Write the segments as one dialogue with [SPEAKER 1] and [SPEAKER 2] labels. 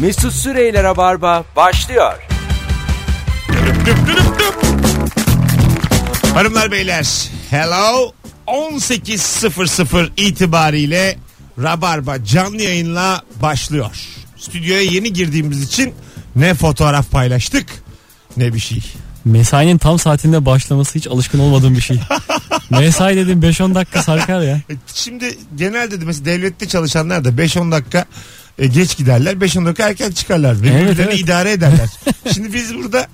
[SPEAKER 1] Mesut Süreyler'e barba başlıyor.
[SPEAKER 2] Düp düp düp düp. Hanımlar beyler hello 18.00 itibariyle Rabarba canlı yayınla başlıyor. Stüdyoya yeni girdiğimiz için ne fotoğraf paylaştık ne bir şey.
[SPEAKER 3] Mesainin tam saatinde başlaması hiç alışkın olmadığım bir şey. Mesai dedim 5-10 dakika sarkar ya.
[SPEAKER 2] E, Şimdi genelde de mesela devlette çalışanlar da 5-10 dakika e, geç giderler 5-10 dakika erken çıkarlar. Ve
[SPEAKER 3] Evet,
[SPEAKER 2] birbirlerini
[SPEAKER 3] evet.
[SPEAKER 2] idare ederler. Şimdi biz burada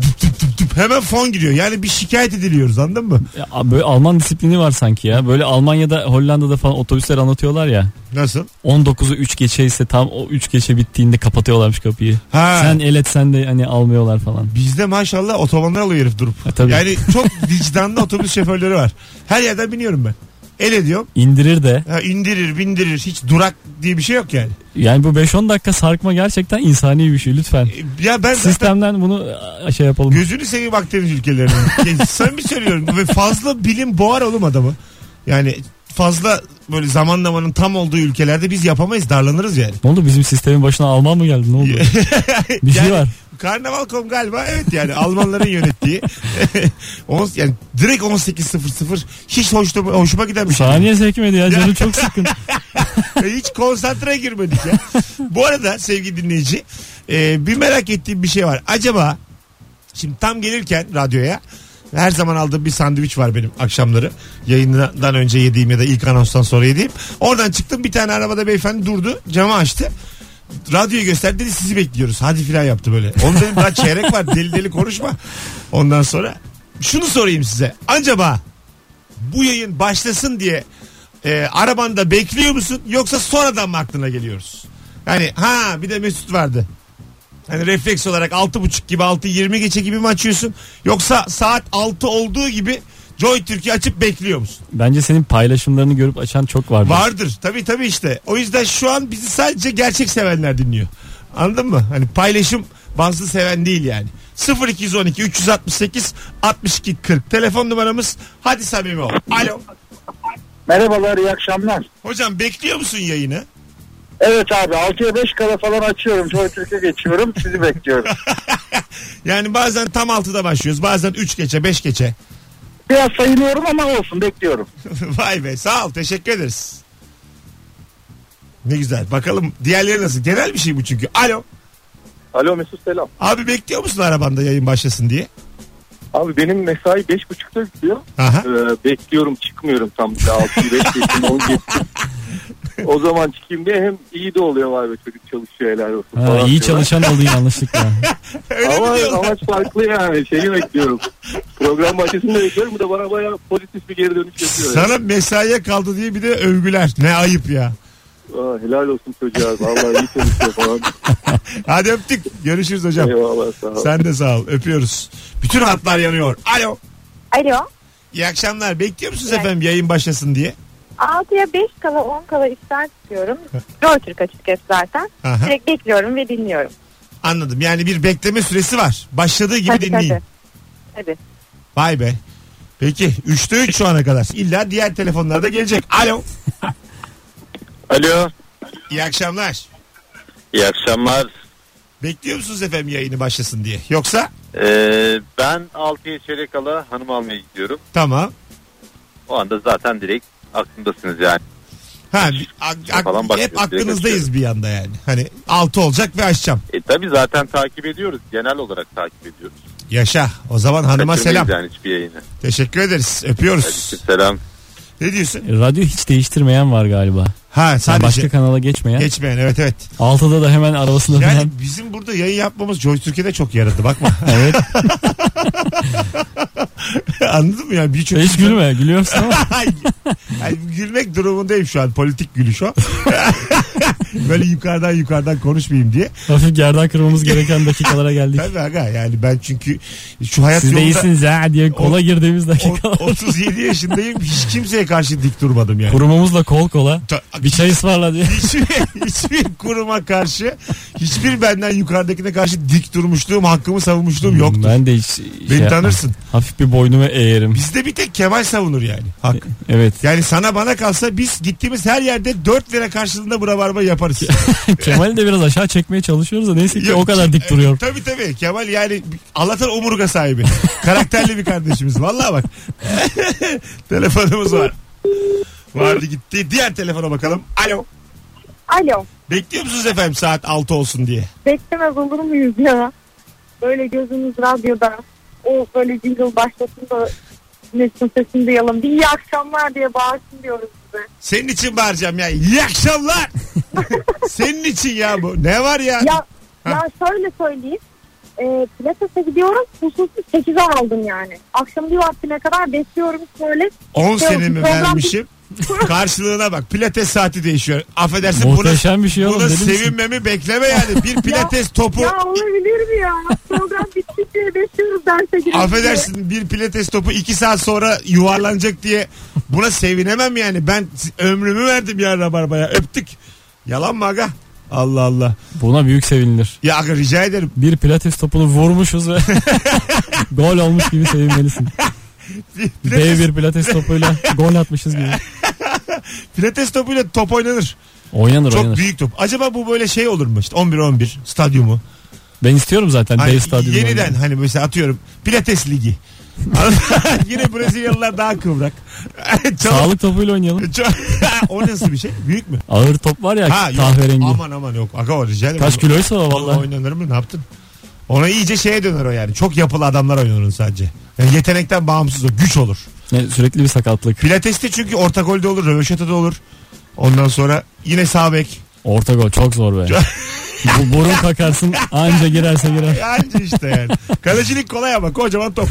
[SPEAKER 2] düp düp düp düp hemen fon giriyor. Yani bir şikayet ediliyoruz anladın mı?
[SPEAKER 3] Ya, Böyle Alman disiplini var sanki ya. Böyle Almanya'da Hollanda'da falan otobüsler anlatıyorlar ya.
[SPEAKER 2] Nasıl?
[SPEAKER 3] 19'u 3 geçe ise tam o 3 geçe bittiğinde kapatıyorlarmış kapıyı.
[SPEAKER 2] Ha.
[SPEAKER 3] Sen el etsen de hani almıyorlar falan.
[SPEAKER 2] Bizde maşallah otobandan alıyor herif durup.
[SPEAKER 3] Ha, E, tabii.
[SPEAKER 2] Yani çok vicdanlı otobüs şoförleri var. Her yerden biniyorum ben. El ediyorum.
[SPEAKER 3] İndirir de
[SPEAKER 2] Ha, indirir, bindirir. Hiç durak diye bir şey yok yani.
[SPEAKER 3] yani bu 5-10 dakika sarkma gerçekten insani bir şey lütfen.
[SPEAKER 2] E, Ya ben zaten
[SPEAKER 3] Sistemden bunu a, şey yapalım.
[SPEAKER 2] gözünü seveyim Akdeniz ülkelerine. Ya, Samimi söylüyorum. Ve fazla bilim boğar oğlum adamı. Yani fazla böyle zamanlamanın tam olduğu ülkelerde biz yapamayız. Darlanırız yani.
[SPEAKER 3] Ne oldu bizim sistemin başına Alman mı geldi ne oldu? bir şey
[SPEAKER 2] Yani-
[SPEAKER 3] var.
[SPEAKER 2] Karnaval.com galiba evet yani Almanların yönettiği. On- yani direkt 18.00 hiç hoşuma, hoşuma giden bir şey. değil.
[SPEAKER 3] Saniye sekmedi ya canım çok sıkkın.
[SPEAKER 2] E, Hiç konsantre girmedik ya. Bu arada sevgili dinleyici e, bir merak ettiğim bir şey var. Acaba şimdi tam gelirken radyoya her zaman aldığım bir sandviç var benim akşamları. Yayından önce yediğim ya da ilk anonstan sonra yediğim. Oradan çıktım bir tane arabada beyefendi durdu camı açtı. Radyoyu gösterdi dedi sizi bekliyoruz. Hadi filan yaptı böyle. Onu dedim daha çeyrek var deli deli konuşma. Ondan sonra şunu sorayım size. Acaba bu yayın başlasın diye e, arabanda bekliyor musun yoksa sonradan mı aklına geliyoruz? Yani ha bir de Mesut vardı. Hani refleks olarak 6.30 gibi 6.20 geçe gibi mi açıyorsun? Yoksa saat 6 olduğu gibi Joy Türkiye açıp bekliyor musun?
[SPEAKER 3] Bence senin paylaşımlarını görüp açan çok vardı.
[SPEAKER 2] Vardır. Tabii tabii işte. O yüzden şu an bizi sadece gerçek sevenler dinliyor. Anladın mı? Hani paylaşım bazı seven değil yani. 0212 368 62 40 telefon numaramız. Hadi samimi ol. Alo.
[SPEAKER 4] Merhabalar iyi akşamlar.
[SPEAKER 2] Hocam bekliyor musun yayını?
[SPEAKER 4] Evet abi 6'ya 5 kala falan açıyorum. Joy Türk'e geçiyorum. Sizi bekliyorum.
[SPEAKER 2] Yani bazen tam 6'da başlıyoruz. Bazen 3 geçe 5 geçe.
[SPEAKER 4] Biraz sayılıyorum ama olsun bekliyorum.
[SPEAKER 2] Vay be sağ ol teşekkür ederiz. Ne güzel bakalım diğerleri nasıl? Genel bir şey bu çünkü. Alo
[SPEAKER 5] Alo Mesut selam.
[SPEAKER 2] abi bekliyor musun arabanda yayın başlasın diye?
[SPEAKER 5] Abi benim mesai 5.30'da bitiyor.
[SPEAKER 2] Aha.
[SPEAKER 5] Ee, bekliyorum çıkmıyorum tam da 6'yı bekliyorum 10 geçti. O zaman çıkayım diye hem iyi de oluyor var be çocuk çalışıyor helal olsun.
[SPEAKER 3] Ha,
[SPEAKER 5] falan
[SPEAKER 3] iyi
[SPEAKER 5] diyorlar.
[SPEAKER 3] çalışan oldu yanlışlıkla.
[SPEAKER 2] Öyle mi
[SPEAKER 5] Ama
[SPEAKER 2] diyorlar?
[SPEAKER 5] amaç farklı yani şeyi bekliyorum. Program bahçesini de bekliyorum. Bu da bana bayağı pozitif bir geri dönüş yapıyor. yani.
[SPEAKER 2] Sana mesaiye kaldı diye bir de övgüler. Ne ayıp ya.
[SPEAKER 5] Aa, helal olsun çocuğa. Vallahi iyi çalışıyor falan.
[SPEAKER 2] Hadi öptük. Görüşürüz hocam.
[SPEAKER 5] Eyvallah sağ ol.
[SPEAKER 2] Sen de sağ ol. Öpüyoruz. Bütün hatlar yanıyor. Alo.
[SPEAKER 6] Alo.
[SPEAKER 2] İyi akşamlar. Bekliyor musunuz
[SPEAKER 6] İyi
[SPEAKER 2] efendim yayın başlasın diye?
[SPEAKER 6] 6'ya 5 kala 10 kala işler çıkıyorum. Rötürk açık et zaten.
[SPEAKER 2] Aha.
[SPEAKER 6] Direkt bekliyorum ve dinliyorum.
[SPEAKER 2] Anladım. Yani bir bekleme süresi var. Başladığı gibi
[SPEAKER 6] Tabii,
[SPEAKER 2] dinleyin.
[SPEAKER 6] tabii. Tabii.
[SPEAKER 2] Vay be. Peki 3'te 3 şu ana kadar. İlla diğer telefonlarda gelecek. Alo.
[SPEAKER 7] Alo.
[SPEAKER 2] İyi akşamlar.
[SPEAKER 7] İyi akşamlar.
[SPEAKER 2] Bekliyor musunuz efendim yayını başlasın diye? Yoksa
[SPEAKER 7] Ee, ben 6'ya çeyrek kala hanım almaya gidiyorum.
[SPEAKER 2] tamam.
[SPEAKER 7] O anda zaten direkt aklımdasınız yani.
[SPEAKER 2] Ha, bir- ak- ak-
[SPEAKER 7] Şey Falan bakıyoruz,
[SPEAKER 2] hep
[SPEAKER 7] direkt
[SPEAKER 2] aklınızdayız bir yanda yani. Hani 6 olacak ve açacağım.
[SPEAKER 7] E tabi zaten takip ediyoruz. Genel olarak takip ediyoruz.
[SPEAKER 2] Yaşa. O zaman hanıma
[SPEAKER 7] Kaçırmayız
[SPEAKER 2] selam.
[SPEAKER 7] Yani hiçbir yayını.
[SPEAKER 2] Teşekkür ederiz.
[SPEAKER 7] Hadi
[SPEAKER 2] Öpüyoruz.
[SPEAKER 7] selam.
[SPEAKER 2] Ne diyorsun?
[SPEAKER 3] E, Radyo hiç değiştirmeyen var galiba. Yani
[SPEAKER 2] Ha sadece
[SPEAKER 3] başka kanala geçmeyen.
[SPEAKER 2] geçmeyen evet evet.
[SPEAKER 3] 6'da da hemen arabasında
[SPEAKER 2] Yani
[SPEAKER 3] dönen.
[SPEAKER 2] bizim burada yayın yapmamız Joy Türkiye'de çok yaradı bakma.
[SPEAKER 3] Evet.
[SPEAKER 2] Anladın mı ya? Birçok
[SPEAKER 3] Hiç gülme. Gülüyorsun ama.
[SPEAKER 2] Ay, ay, gülmek durumundayım şu an. Politik gülüş o. Böyle yukarıdan yukarıdan konuşmayayım diye.
[SPEAKER 3] Hafif gerdan kırmamız gereken dakikalara geldik.
[SPEAKER 2] Tabii aga yani ben çünkü şu hayat
[SPEAKER 3] Siz de
[SPEAKER 2] yolunda
[SPEAKER 3] iyisiniz ha diye kola girdiğimiz
[SPEAKER 2] o-
[SPEAKER 3] dakikalar.
[SPEAKER 2] 37 yaşındayım. Hiç kimseye karşı dik durmadım yani.
[SPEAKER 3] Kurumumuzla kol kola.
[SPEAKER 2] Ta-
[SPEAKER 3] Bir çay ısmarla diye.
[SPEAKER 2] hiçbir, hiçbir kuruma karşı Hiçbir benden yukarıdakine karşı dik durmuşluğum, hakkımı savunmuşluğum yoktur.
[SPEAKER 3] Ben de hiç şey
[SPEAKER 2] Beni
[SPEAKER 3] yapmam.
[SPEAKER 2] tanırsın.
[SPEAKER 3] Hafif bir boynumu eğerim.
[SPEAKER 2] Bizde bir tek Kemal savunur yani. Hak.
[SPEAKER 3] Evet.
[SPEAKER 2] Yani sana bana kalsa biz gittiğimiz her yerde 4 lira karşılığında bu rabarba yaparız.
[SPEAKER 3] Kemal'i de biraz aşağı çekmeye çalışıyoruz da neyse ki
[SPEAKER 2] Yok,
[SPEAKER 3] o kadar dik duruyor.
[SPEAKER 2] tabii tabii. Kemal yani Allah'tan omurga sahibi. Karakterli bir kardeşimiz. Vallahi bak. Telefonumuz var. Vardı gitti. Diğer telefona bakalım. Alo.
[SPEAKER 6] Alo.
[SPEAKER 2] Bekliyor musunuz efendim saat 6 olsun diye?
[SPEAKER 6] Beklemez olur muyuz ya? Böyle gözümüz radyoda. O böyle jingle başlasın da Mesut'un sesini duyalım. Bir iyi akşamlar diye bağırsın diyoruz size.
[SPEAKER 2] Senin için bağıracağım ya. İyi akşamlar. Senin için ya bu. Ne var ya?
[SPEAKER 6] Ya,
[SPEAKER 2] Ha.
[SPEAKER 6] ya şöyle söyleyeyim. E, pilates'e gidiyorum. Hususi 8'e aldım yani. Akşam bir vaktine kadar bekliyorum şöyle.
[SPEAKER 2] 10
[SPEAKER 6] şey
[SPEAKER 2] sene
[SPEAKER 6] olsun,
[SPEAKER 2] mi
[SPEAKER 6] program-
[SPEAKER 2] vermişim? Karşılığına bak. Pilates saati değişiyor. Affedersin buna,
[SPEAKER 3] Muhteşem bir şey oğlum.
[SPEAKER 2] buna
[SPEAKER 3] deli misin?
[SPEAKER 2] sevinmemi bekleme yani. Bir pilates topu
[SPEAKER 6] Ya olabilir mi ya? Program bitti diye bekliyoruz derse girince.
[SPEAKER 2] Affedersin bir pilates topu iki saat sonra yuvarlanacak diye buna sevinemem yani. Ben ömrümü verdim ya Rabarba'ya öptük. Yalan mı aga? Allah Allah.
[SPEAKER 3] Buna büyük sevinilir.
[SPEAKER 2] Ya aga rica ederim.
[SPEAKER 3] Bir pilates topunu vurmuşuz ve gol olmuş gibi sevinmelisin.
[SPEAKER 2] Pilates,
[SPEAKER 3] Dev bir pilates topuyla gol atmışız gibi.
[SPEAKER 2] pilates topuyla top oynanır.
[SPEAKER 3] Oynanır
[SPEAKER 2] Çok
[SPEAKER 3] oynanır.
[SPEAKER 2] büyük top. Acaba bu böyle şey olur mu? İşte 11-11 stadyumu.
[SPEAKER 3] Ben istiyorum zaten
[SPEAKER 2] Hani
[SPEAKER 3] dev stadyumu.
[SPEAKER 2] yeniden
[SPEAKER 3] oynamayı.
[SPEAKER 2] hani mesela atıyorum pilates ligi. Yine Brezilyalılar daha kıvrak. Çok,
[SPEAKER 3] Sağlık topuyla oynayalım.
[SPEAKER 2] çok, o nasıl bir şey? Büyük mü?
[SPEAKER 3] Ağır top var ya
[SPEAKER 2] Ha, yok.
[SPEAKER 3] kahverengi.
[SPEAKER 2] Aman aman yok. Aga o rica ederim.
[SPEAKER 3] Kaç kiloysa o
[SPEAKER 2] Vallahi
[SPEAKER 3] valla.
[SPEAKER 2] oynanır mı ne yaptın? Ona iyice şeye döner o yani. Çok yapılı adamlar oynar onu sadece. Yani yetenekten bağımsız o güç olur.
[SPEAKER 3] Ne, sürekli bir sakatlık.
[SPEAKER 2] Pilates'te çünkü orta golde olur, röveşata da olur. Ondan sonra yine sağ bek.
[SPEAKER 3] Orta gol çok zor be. Bu burun kakarsın anca girerse girer.
[SPEAKER 2] Anca işte yani. Kalecilik kolay ama kocaman top.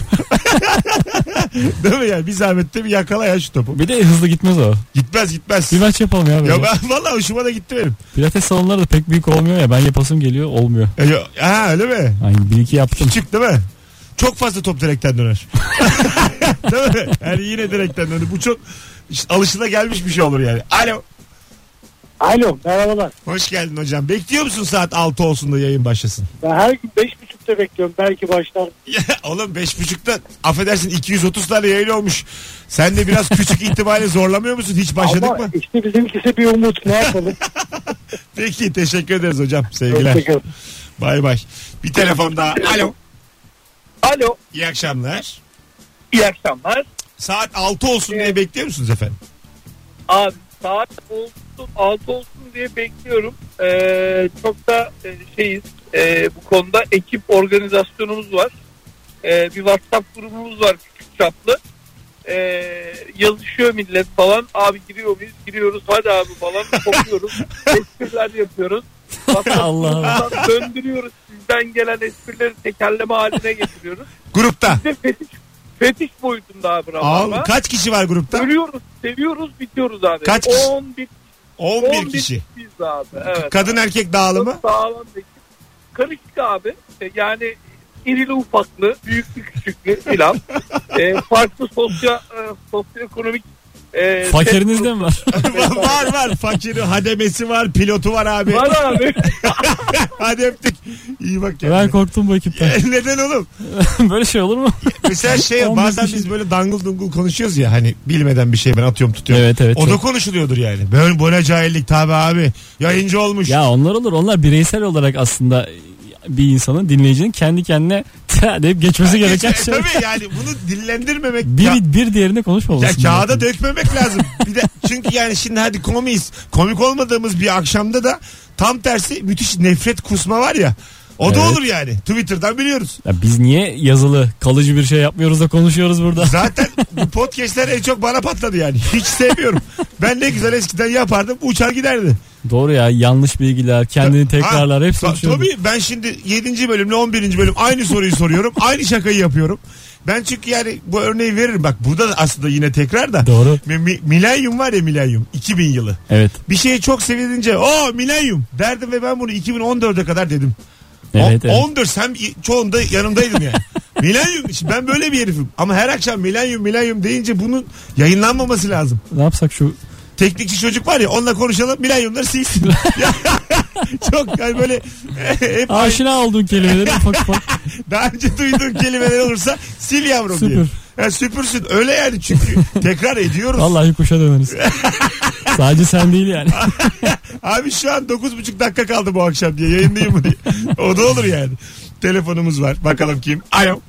[SPEAKER 2] Değil mi yani? Bir zahmette bir yakala ya şu topu.
[SPEAKER 3] Bir de hızlı gitmez o.
[SPEAKER 2] Gitmez gitmez.
[SPEAKER 3] Bir maç yapalım ya böyle.
[SPEAKER 2] Ya ben, vallahi hoşuma da gitti benim.
[SPEAKER 3] Pilates salonları da pek büyük olmuyor ya. Ben yapasım geliyor olmuyor.
[SPEAKER 2] E, yo- Ha öyle mi?
[SPEAKER 3] Yani bir iki yaptım.
[SPEAKER 2] Küçük değil mi? Çok fazla top direkten döner. değil mi? Yani yine direkten döner. Bu çok alışına gelmiş bir şey olur yani. Alo.
[SPEAKER 4] Alo merhabalar.
[SPEAKER 2] Hoş geldin hocam. Bekliyor musun saat 6 olsun da yayın başlasın?
[SPEAKER 4] Ben her gün 5.30'da bekliyorum. Belki başlar.
[SPEAKER 2] Ya oğlum 5.30'da affedersin 230 tane yayın olmuş. Sen de biraz küçük itibariyle zorlamıyor musun? Hiç başladık
[SPEAKER 4] Ama
[SPEAKER 2] mı?
[SPEAKER 4] işte bizimkisi bir umut. Ne yapalım?
[SPEAKER 2] Peki teşekkür ederiz hocam. Sevgiler.
[SPEAKER 4] Hoşçakalın.
[SPEAKER 2] Bay bay. Bir telefon daha. Alo.
[SPEAKER 8] Alo,
[SPEAKER 2] İyi akşamlar.
[SPEAKER 8] iyi akşamlar.
[SPEAKER 2] Saat 6 olsun diye bekliyor musunuz efendim?
[SPEAKER 8] Abi saat olsun, 6 olsun diye bekliyorum. Ee, çok da e, şeyiz e, bu konuda ekip organizasyonumuz var. Ee, bir WhatsApp grubumuz var küçük çaplı. Ee, yazışıyor millet falan. Abi giriyor muyuz? Giriyoruz. Hadi abi falan. Kopuyoruz. Espriler yapıyoruz. WhatsApp
[SPEAKER 3] Allah Allah.
[SPEAKER 8] grubundan döndürüyoruz. Sizden gelen esprileri tekerleme haline getiriyoruz.
[SPEAKER 2] Grupta.
[SPEAKER 8] Bir de fetiş, fetiş boyutunda abi.
[SPEAKER 2] Al,
[SPEAKER 8] Rabarba.
[SPEAKER 2] kaç kişi var grupta?
[SPEAKER 8] Ölüyoruz, seviyoruz, bitiyoruz abi.
[SPEAKER 2] Kaç kişi?
[SPEAKER 8] 11,
[SPEAKER 2] 11 kişi.
[SPEAKER 8] Biz abi. Evet.
[SPEAKER 2] Kadın erkek dağılımı.
[SPEAKER 8] Çok Sağlam bir ekip. Karışık abi. E, Yani irili ufaklı, büyüklü küçüklü filan. e, farklı sosyo, e, sosyoekonomik e,
[SPEAKER 3] Fakiriniz de mi var?
[SPEAKER 2] var var. Fakiri, hademesi var, pilotu var abi.
[SPEAKER 8] Var abi.
[SPEAKER 2] Hadi öptük. İyi bak kendine.
[SPEAKER 3] ben korktum bu ekipten.
[SPEAKER 2] Neden oğlum?
[SPEAKER 3] böyle şey olur mu?
[SPEAKER 2] Mesela şey
[SPEAKER 3] 11
[SPEAKER 2] bazen
[SPEAKER 3] kişi.
[SPEAKER 2] biz böyle dangıl dungul konuşuyoruz ya hani bilmeden bir şey ben atıyorum tutuyorum.
[SPEAKER 3] Evet, evet,
[SPEAKER 2] O da
[SPEAKER 3] çok.
[SPEAKER 2] konuşuluyordur yani. Böyle bu ne cahillik tabi abi. Yayıncı olmuş.
[SPEAKER 3] Ya onlar olur. Onlar bireysel olarak aslında bir insanın dinleyicinin kendi kendine "Tı" deyip geçmesi gereken şey.
[SPEAKER 2] Tabii yani bunu dillendirmemek.
[SPEAKER 3] Bir,
[SPEAKER 2] Ya-
[SPEAKER 3] bir diğerine
[SPEAKER 2] Ya
[SPEAKER 3] konuşmaması.
[SPEAKER 2] kağıda
[SPEAKER 3] lazım.
[SPEAKER 2] dökmemek lazım. Bir de çünkü yani şimdi hadi komiyiz. Komik olmadığımız bir akşamda da tam tersi müthiş nefret kusma var ya. O da
[SPEAKER 3] Evet.
[SPEAKER 2] olur yani. Twitter'dan biliyoruz.
[SPEAKER 3] Ya biz niye yazılı kalıcı bir şey yapmıyoruz da konuşuyoruz burada?
[SPEAKER 2] Zaten bu podcastler en çok bana patladı yani. Hiç sevmiyorum. Ben ne güzel eskiden yapardım uçar giderdi.
[SPEAKER 3] Doğru ya yanlış bilgiler kendini tekrarlar
[SPEAKER 2] Ha,
[SPEAKER 3] hepsi
[SPEAKER 2] ta-
[SPEAKER 3] uçuyordu.
[SPEAKER 2] Tabii ben şimdi 7. bölümle 11. bölüm aynı soruyu soruyorum. aynı şakayı yapıyorum. Ben çünkü yani bu örneği veririm. Bak burada da aslında yine tekrar da.
[SPEAKER 3] Doğru.
[SPEAKER 2] Mi- mi- milenyum var ya milenyum. 2000 yılı.
[SPEAKER 3] Evet.
[SPEAKER 2] Bir şeyi çok sevilince o milenyum derdim ve ben bunu 2014'e kadar dedim.
[SPEAKER 3] Evet,
[SPEAKER 2] O-
[SPEAKER 3] evet.
[SPEAKER 2] 14 sen i- çoğunda yanımdaydın yani. milenyum işte ben böyle bir herifim. Ama her akşam milenyum milenyum deyince bunun yayınlanmaması lazım.
[SPEAKER 3] Ne yapsak şu
[SPEAKER 2] Teknikçi çocuk var ya onunla konuşalım milenyumları silsin. Ya, Çok yani böyle e, hep aynı-
[SPEAKER 3] Aşina olduğun kelimeleri ufak ufak.
[SPEAKER 2] daha önce duyduğun kelimeler olursa sil yavrum
[SPEAKER 3] Süpür.
[SPEAKER 2] diye. Yani süpürsün öyle yani çünkü tekrar ediyoruz.
[SPEAKER 3] Vallahi kuşa döneriz. Sadece sen değil yani.
[SPEAKER 2] Abi şu an 9,5 dakika kaldı bu akşam diye yayındayım mı diye. O da olur yani. Telefonumuz var bakalım kim. Alo.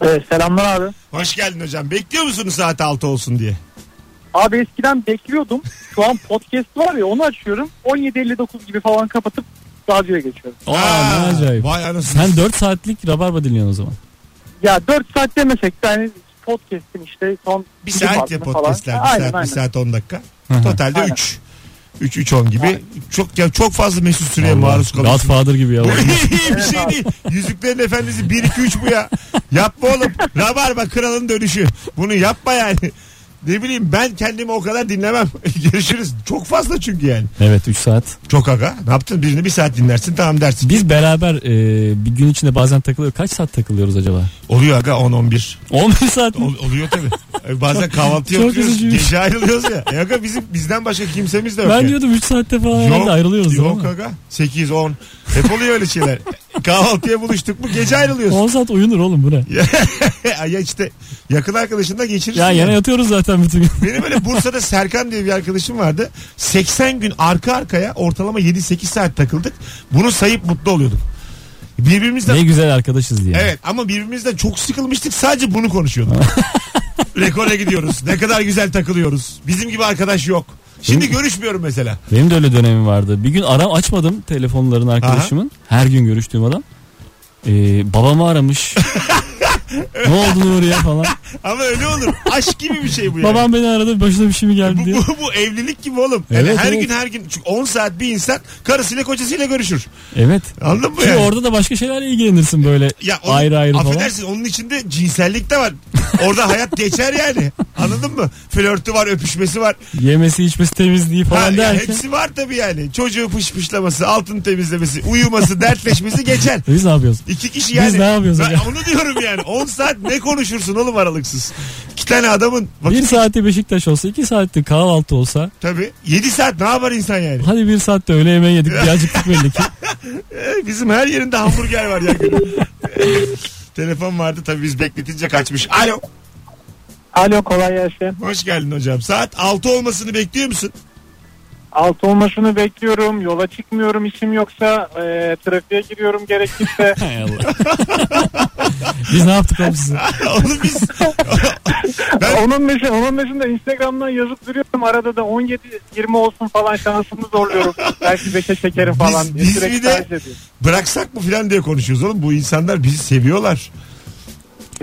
[SPEAKER 4] Evet, selamlar abi.
[SPEAKER 2] Hoş geldin hocam. Bekliyor musunuz saat 6 olsun diye?
[SPEAKER 4] Abi eskiden bekliyordum. Şu an podcast var ya onu açıyorum. 17.59 gibi falan kapatıp radyoya geçiyorum.
[SPEAKER 3] Aa, ne acayip.
[SPEAKER 2] Vay anasını.
[SPEAKER 3] Sen 4 saatlik rabarba dinliyorsun o zaman.
[SPEAKER 4] Ya 4 saat demesek de hani podcast'in işte son
[SPEAKER 2] Bir
[SPEAKER 4] film
[SPEAKER 2] saat
[SPEAKER 4] hakkı
[SPEAKER 2] ya
[SPEAKER 4] falan.
[SPEAKER 2] podcastler. Bir
[SPEAKER 4] Ha, aynen,
[SPEAKER 2] saat,
[SPEAKER 4] aynen.
[SPEAKER 2] bir saat 10 dakika.
[SPEAKER 3] Hı hı.
[SPEAKER 2] Totalde
[SPEAKER 4] Aynen.
[SPEAKER 2] 3. 3 3 10 gibi.
[SPEAKER 4] Aynen.
[SPEAKER 2] Çok ya çok fazla Mesut Süre'ye
[SPEAKER 3] Allah,
[SPEAKER 2] maruz kalıyorsun.
[SPEAKER 3] Godfather gibi ya.
[SPEAKER 2] bir şey değil. Yüzüklerin Efendisi 1 2 3 bu ya. Yapma oğlum. Rabarba kralın dönüşü. Bunu yapma yani. Ne bileyim ben kendimi o kadar dinlemem. Görüşürüz. Çok fazla çünkü yani.
[SPEAKER 3] evet 3 saat.
[SPEAKER 2] Çok aga. Ne yaptın? Birini bir saat dinlersin tamam dersin.
[SPEAKER 3] Biz beraber e, bir gün içinde bazen takılıyor. Kaç saat takılıyoruz acaba?
[SPEAKER 2] Oluyor aga 10-11.
[SPEAKER 3] 11 saat mi?
[SPEAKER 2] Ol- oluyor tabii. E, Bazen kahvaltıya
[SPEAKER 3] Çok
[SPEAKER 2] oturuyoruz.
[SPEAKER 3] üzücüymüş.
[SPEAKER 2] Gece ayrılıyoruz ya. E aga bizim, bizden başka kimsemiz de yok.
[SPEAKER 3] Ben
[SPEAKER 2] yani.
[SPEAKER 3] diyordum 3 saatte falan herhalde ayrılıyoruz.
[SPEAKER 2] Yok
[SPEAKER 3] değil mi?
[SPEAKER 2] aga. 8-10. Hep oluyor öyle şeyler. Kahvaltıya buluştuk mu gece ayrılıyorsun.
[SPEAKER 3] 10 saat uyunur oğlum bu ne?
[SPEAKER 2] ya işte yakın arkadaşınla geçirirsin.
[SPEAKER 3] Ya
[SPEAKER 2] yani.
[SPEAKER 3] yana yatıyoruz zaten bütün gün.
[SPEAKER 2] Benim öyle Bursa'da Serkan diye bir arkadaşım vardı. 80 gün arka arkaya ortalama 7-8 saat takıldık. Bunu sayıp mutlu oluyorduk. Birbirimizden
[SPEAKER 3] ne güzel arkadaşız diye.
[SPEAKER 2] Evet ama birbirimizden çok sıkılmıştık sadece bunu konuşuyorduk. Rekora gidiyoruz. Ne kadar güzel takılıyoruz. Bizim gibi arkadaş yok. Şimdi görüşmüyorum mesela.
[SPEAKER 3] Benim de öyle dönemim vardı. Bir gün aram açmadım telefonlarını arkadaşımın. Her gün görüştüğüm adam. Ee, babamı aramış. ne oldu Nuri ya falan.
[SPEAKER 2] Ama öyle olur. Aşk gibi bir şey bu yani.
[SPEAKER 3] Babam beni aradı başına bir şey mi
[SPEAKER 2] E, bu,
[SPEAKER 3] geldi diye.
[SPEAKER 2] bu, bu evlilik gibi oğlum. Yani
[SPEAKER 3] Evet,
[SPEAKER 2] her
[SPEAKER 3] evet.
[SPEAKER 2] gün her gün çünkü 10 saat bir insan karısıyla kocasıyla görüşür.
[SPEAKER 3] Evet.
[SPEAKER 2] Anladın mı
[SPEAKER 3] Çünkü
[SPEAKER 2] yani?
[SPEAKER 3] orada da başka şeylerle ilgilenirsin böyle
[SPEAKER 2] ya onun-
[SPEAKER 3] ayrı ayrı falan.
[SPEAKER 2] affedersin onun içinde cinsellik de var. Orada hayat geçer yani. Anladın mı? Flörtü var, öpüşmesi var.
[SPEAKER 3] Yemesi içmesi temizliği
[SPEAKER 2] Ha,
[SPEAKER 3] falan
[SPEAKER 2] ya
[SPEAKER 3] derken.
[SPEAKER 2] hepsi var tabii yani. Çocuğu pışpışlaması, altın temizlemesi, uyuması, dertleşmesi geçer.
[SPEAKER 3] Biz ne yapıyoruz?
[SPEAKER 2] İki kişi yani.
[SPEAKER 3] Biz ne yapıyoruz
[SPEAKER 2] Ben
[SPEAKER 3] hocam?
[SPEAKER 2] onu diyorum yani. 10 saat ne konuşursun oğlum aralıksız. İki tane adamın
[SPEAKER 3] Bir
[SPEAKER 2] vakit
[SPEAKER 3] saatte Beşiktaş olsa, iki saatte kahvaltı olsa,
[SPEAKER 2] tabii. 7 saat ne yapar insan yani?
[SPEAKER 3] hadi bir saatte öğle yemeği yedik, birazcık belli ki.
[SPEAKER 2] Ee, Bizim her yerinde hamburger var ya. E, Telefon vardı tabii biz bekletince kaçmış. Alo.
[SPEAKER 4] Alo kolay gelsin.
[SPEAKER 2] Hoş geldin hocam. Saat 6 olmasını bekliyor musun?
[SPEAKER 4] Altı olmasını bekliyorum. Yola çıkmıyorum işim yoksa. E, trafiğe giriyorum gerekirse.
[SPEAKER 3] Hay Allah. Biz ne yaptık oğlum size?
[SPEAKER 2] Oğlum biz
[SPEAKER 4] onun, dışında, onun dışında Instagram'dan yazıp duruyorum. Arada da 17-20 olsun falan şansımı zorluyorum. Belki 5'e çekerim falan. diye
[SPEAKER 2] biz
[SPEAKER 4] sürekli
[SPEAKER 2] bir de-
[SPEAKER 4] tercih ediyorum.
[SPEAKER 2] bıraksak mı filan diye konuşuyoruz oğlum. Bu insanlar bizi seviyorlar.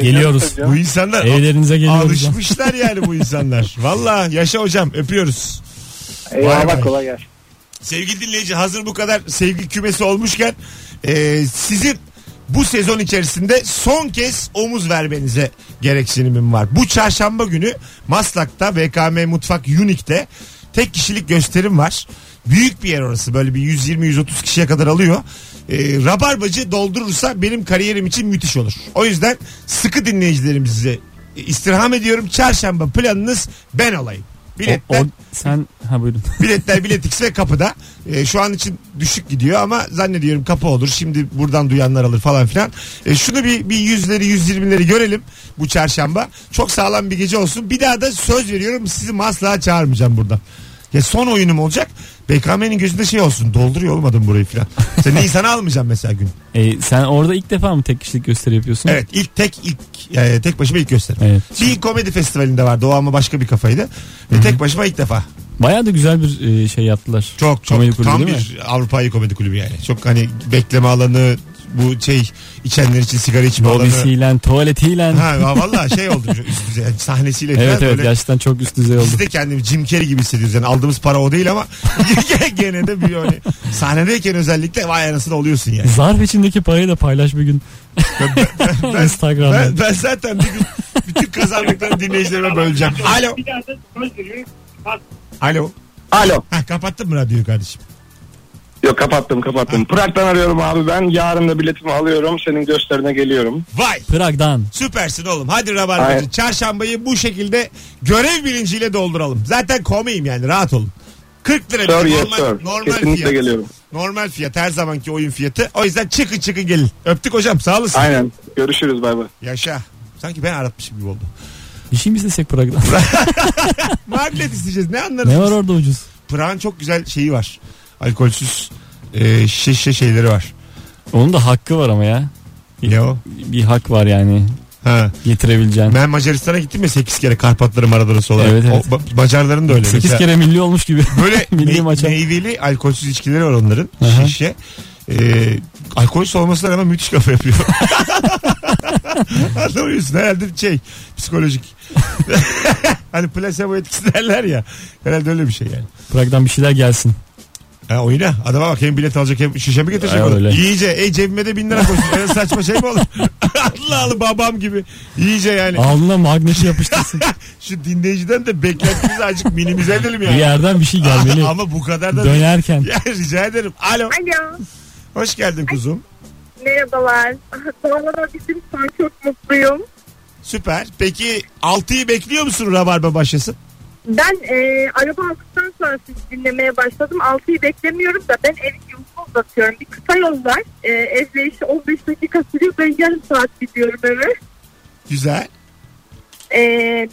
[SPEAKER 3] Geliyoruz.
[SPEAKER 4] Tabii canım.
[SPEAKER 2] Bu insanlar
[SPEAKER 3] Evlerinize geliyoruz. lan.
[SPEAKER 2] alışmışlar yani bu insanlar. Valla yaşa hocam öpüyoruz. Vay vay.
[SPEAKER 4] Eyvallah kolay gelsin.
[SPEAKER 2] Sevgili dinleyici hazır bu kadar sevgi kümesi olmuşken e, sizin bu sezon içerisinde son kez omuz vermenize gereksinimim var. Bu çarşamba günü Maslak'ta BKM Mutfak Unique'de tek kişilik gösterim var. Büyük bir yer orası böyle bir 120-130 kişiye kadar alıyor. E, rabarbacı doldurursa benim kariyerim için müthiş olur. O yüzden sıkı dinleyicilerimizi istirham ediyorum. Çarşamba planınız ben olayım.
[SPEAKER 3] O,
[SPEAKER 2] Biletler
[SPEAKER 3] o- sen ha buyurun.
[SPEAKER 2] Biletler biletix ve kapıda. Ee, şu an için düşük gidiyor ama zannediyorum kapı olur. Şimdi buradan duyanlar alır falan filan. Ee, şunu bir, bir yüzleri yüz yirmileri görelim bu çarşamba. Çok sağlam bir gece olsun. Bir daha da söz veriyorum sizi asla çağırmayacağım buradan. Ya son oyunum olacak. BKM'nin gözünde şey olsun. Dolduruyor olmadım burayı filan. Sen Nisan'ı almayacağım mesela gün.
[SPEAKER 3] E, sen orada ilk defa mı tek kişilik gösteri yapıyorsun?
[SPEAKER 2] Evet ilk tek ilk e, tek başıma ilk gösterim.
[SPEAKER 3] Evet.
[SPEAKER 2] Bir komedi festivalinde vardı o ama başka bir kafaydı. Ve tek başıma ilk defa.
[SPEAKER 3] Bayağı da güzel bir e, şey yaptılar.
[SPEAKER 2] Çok çok
[SPEAKER 3] Komedi kulübü
[SPEAKER 2] tam
[SPEAKER 3] değil mi?
[SPEAKER 2] bir Avrupa'yı komedi kulübü yani. Çok hani bekleme alanı bu şey içenler için sigara içme alanı.
[SPEAKER 3] Lobisiyle, tuvaletiyle.
[SPEAKER 2] Ha, ha valla şey oldu üst düzey yani sahnesiyle falan
[SPEAKER 3] evet evet
[SPEAKER 2] böyle.
[SPEAKER 3] gerçekten çok üst düzey oldu.
[SPEAKER 2] Biz de kendimi Jim Carrey gibi hissediyoruz. Yani aldığımız para o değil ama gene de bir hani sahnedeyken özellikle vay anasını oluyorsun yani.
[SPEAKER 3] Zarf içindeki parayı da paylaş bir gün. Instagram'da.
[SPEAKER 2] Ben, ben zaten bir gün bütün kazandıklarını dinleyicilerime böleceğim. Alo. Alo.
[SPEAKER 9] Alo.
[SPEAKER 2] Ha, kapattın mı radyoyu kardeşim?
[SPEAKER 9] Yok kapattım kapattım. Prag'dan arıyorum abi ben. Yarın da biletimi alıyorum. Senin gösterine geliyorum.
[SPEAKER 2] Vay.
[SPEAKER 3] Prag'dan.
[SPEAKER 2] Süpersin oğlum. Hadi Rabarbacı.
[SPEAKER 9] Aynen.
[SPEAKER 2] Çarşambayı bu şekilde görev bilinciyle dolduralım. Zaten komiyim yani rahat olun. 40 lira
[SPEAKER 9] Sir
[SPEAKER 2] bizim
[SPEAKER 9] yes sir.
[SPEAKER 2] normal
[SPEAKER 9] Kesinlikle
[SPEAKER 2] fiyat.
[SPEAKER 9] geliyorum.
[SPEAKER 2] Normal fiyat her zamanki oyun fiyatı. O yüzden çıkın çıkın gelin. Öptük hocam sağ olasın.
[SPEAKER 9] Aynen. Görüşürüz bay bay.
[SPEAKER 2] Yaşa. Sanki ben aratmışım gibi oldu.
[SPEAKER 3] Bir şey mi istesek Prag'dan?
[SPEAKER 2] Marlet isteyeceğiz ne anlarız?
[SPEAKER 3] ne var orada ucuz?
[SPEAKER 2] Pırağın çok güzel şeyi var. Alkolsüz e, şişe şeyleri var.
[SPEAKER 3] Onun da hakkı var ama ya.
[SPEAKER 2] Ne o?
[SPEAKER 3] Bir hak var yani
[SPEAKER 2] Ha.
[SPEAKER 3] getirebileceğin.
[SPEAKER 2] Ben Macaristan'a gittim ya 8 kere Karpatları Maradonası olarak.
[SPEAKER 3] Evet, evet.
[SPEAKER 2] O, ba- Macarların da öyle.
[SPEAKER 3] 8
[SPEAKER 2] Mesela
[SPEAKER 3] kere milli olmuş gibi.
[SPEAKER 2] Böyle
[SPEAKER 3] Milli
[SPEAKER 2] me-
[SPEAKER 3] maça.
[SPEAKER 2] meyveli alkolsüz içkileri var onların.
[SPEAKER 3] Aha.
[SPEAKER 2] Şişe. Ee, alkolsüz olmasına rağmen müthiş kafa yapıyor. Anlamıyorsun herhalde şey psikolojik. hani placebo etkisi derler ya. Herhalde öyle bir şey yani.
[SPEAKER 3] Prag'dan bir şeyler gelsin.
[SPEAKER 2] Ha oyna. Adama bak hem bilet alacak hem şişe mi getirecek
[SPEAKER 3] Ha,
[SPEAKER 2] onu?
[SPEAKER 3] öyle.
[SPEAKER 2] İyice. E cebime de bin lira koysun. Öyle saçma şey mi olur? Allah Allah babam gibi. İyice yani.
[SPEAKER 3] Alnına magneti yapıştırsın.
[SPEAKER 2] Şu dinleyiciden de beklentimizi azıcık minimize edelim
[SPEAKER 3] bir
[SPEAKER 2] yani.
[SPEAKER 3] yerden bir şey gelmeli.
[SPEAKER 2] Ama bu kadar da değil.
[SPEAKER 3] Dönerken.
[SPEAKER 2] Ya rica ederim. Alo.
[SPEAKER 6] Alo.
[SPEAKER 2] Hoş geldin kuzum.
[SPEAKER 6] Merhabalar. Doğru bizim son çok mutluyum.
[SPEAKER 2] Süper. Peki 6'yı bekliyor musun Rabarba başlasın?
[SPEAKER 6] Ben e, araba aldıktan sonra sizi dinlemeye başladım. 6'yı beklemiyorum da ben evi yolumu uzatıyorum. Bir kısa yol var. E, evle işi 15 dakika sürüyor. Ben yarım saat gidiyorum eve.
[SPEAKER 2] Güzel.
[SPEAKER 6] E,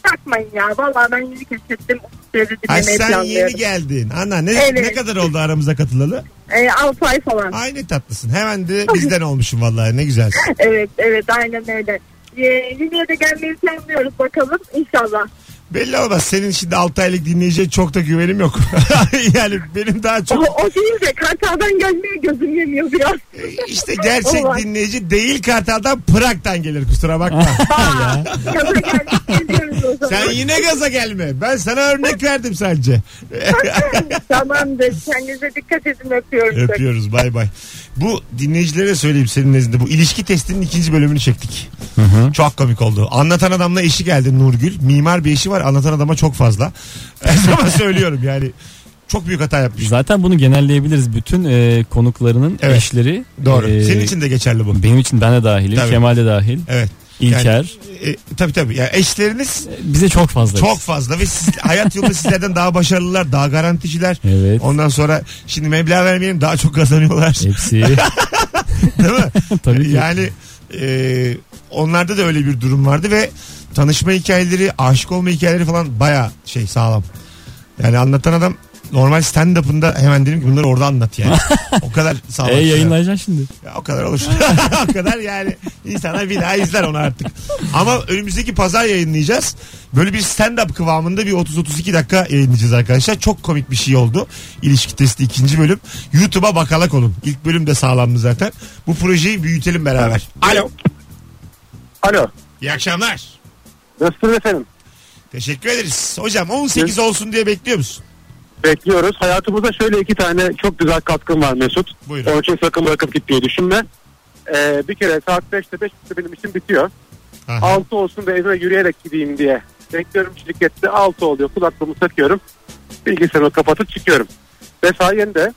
[SPEAKER 6] takmayın ya. Vallahi ben yeni keşfettim. Uzun süredir
[SPEAKER 2] Ay
[SPEAKER 6] dinlemeyi
[SPEAKER 2] sen yeni
[SPEAKER 6] planlıyorum.
[SPEAKER 2] geldin. Ana ne,
[SPEAKER 6] Evet.
[SPEAKER 2] ne kadar oldu aramıza katılalı?
[SPEAKER 6] E, 6 ay falan.
[SPEAKER 2] Ay ne tatlısın. Hemen de bizden olmuşsun vallahi ne güzelsin.
[SPEAKER 6] Evet evet aynen öyle. E, Libya'ya da gelmeyi planlıyoruz bakalım. İnşallah.
[SPEAKER 2] Belli olmaz. Senin şimdi 6 aylık dinleyiciye çok da güvenim yok. yani benim daha
[SPEAKER 6] O,
[SPEAKER 2] çok
[SPEAKER 6] o değil de Kartal'dan gelmeye gözüm yemiyor biraz.
[SPEAKER 2] işte gerçek
[SPEAKER 6] Olmaz.
[SPEAKER 2] dinleyici değil Kartal'dan Pırak'tan gelir kusura bakma.
[SPEAKER 6] Aa, Kaza geldik geliyoruz o zaman.
[SPEAKER 2] Sen yine gaza gelme. Ben sana örnek verdim sadece.
[SPEAKER 6] Tamamdır. Kendinize dikkat edin. Öpüyorum.
[SPEAKER 2] Öpüyoruz bay bay. Bu dinleyicilere söyleyeyim senin nezdinde. Bu ilişki testinin ikinci bölümünü çektik. Çok komik oldu. Anlatan adamla eşi geldi Nurgül. Mimar bir eşi var anlatan adama çok fazla. Ama söylüyorum yani çok büyük hata yapmış.
[SPEAKER 3] Zaten bunu genelleyebiliriz. Bütün e, konuklarının
[SPEAKER 2] Evet.
[SPEAKER 3] eşleri.
[SPEAKER 2] Doğru. Ee,
[SPEAKER 3] e,
[SPEAKER 2] Senin için de geçerli bu.
[SPEAKER 3] Benim için ben de dahilim.
[SPEAKER 2] Tabii.
[SPEAKER 3] Kemal de dahil.
[SPEAKER 2] Evet.
[SPEAKER 3] İlker.
[SPEAKER 2] E, tabii tabii. Yani eşleriniz
[SPEAKER 3] Bize çok fazla.
[SPEAKER 2] çok fazla ve siz, hayat yolunda sizlerden daha başarılılar, daha garanticiler.
[SPEAKER 3] Evet.
[SPEAKER 2] Ondan sonra şimdi meblağ vermeyelim daha çok kazanıyorlar.
[SPEAKER 3] Hepsi.
[SPEAKER 2] Değil mi?
[SPEAKER 3] Tabii ki.
[SPEAKER 2] Yani e, onlarda da öyle bir durum vardı ve tanışma hikayeleri, aşık olma hikayeleri falan baya şey sağlam. Yani anlatan adam normal stand-up'ında hemen dedim ki bunları orada anlat yani. o kadar sağlam. şey.
[SPEAKER 3] e yayınlayacaksın şimdi.
[SPEAKER 2] Ya o kadar olur. o kadar yani insana bir daha izler onu artık. Ama önümüzdeki pazar yayınlayacağız. Böyle bir stand-up kıvamında bir 30-32 dakika yayınlayacağız arkadaşlar. Çok komik bir şey oldu. İlişki testi ikinci bölüm. YouTube'a bakalak olun. İlk bölüm de sağlamdı zaten. Bu projeyi büyütelim beraber. Alo.
[SPEAKER 9] Alo.
[SPEAKER 2] İyi akşamlar.
[SPEAKER 9] Nasılsınız efendim?
[SPEAKER 2] Teşekkür ederiz. Hocam 18 olsun diye bekliyor musun?
[SPEAKER 9] Bekliyoruz. Hayatımıza şöyle iki tane çok güzel katkın var Mesut.
[SPEAKER 2] Buyurun.
[SPEAKER 9] Onun için sakın bırakıp gitmeyi düşünme. Ee, bir kere saat 5'te 5.30'da benim işim bitiyor.
[SPEAKER 2] Aha.
[SPEAKER 9] 6 olsun da evime yürüyerek gideyim diye. Bekliyorum şirkette 6 oluyor. Kulaklığımı takıyorum. Bilgisayarımı kapatıp çıkıyorum. Vesaiyende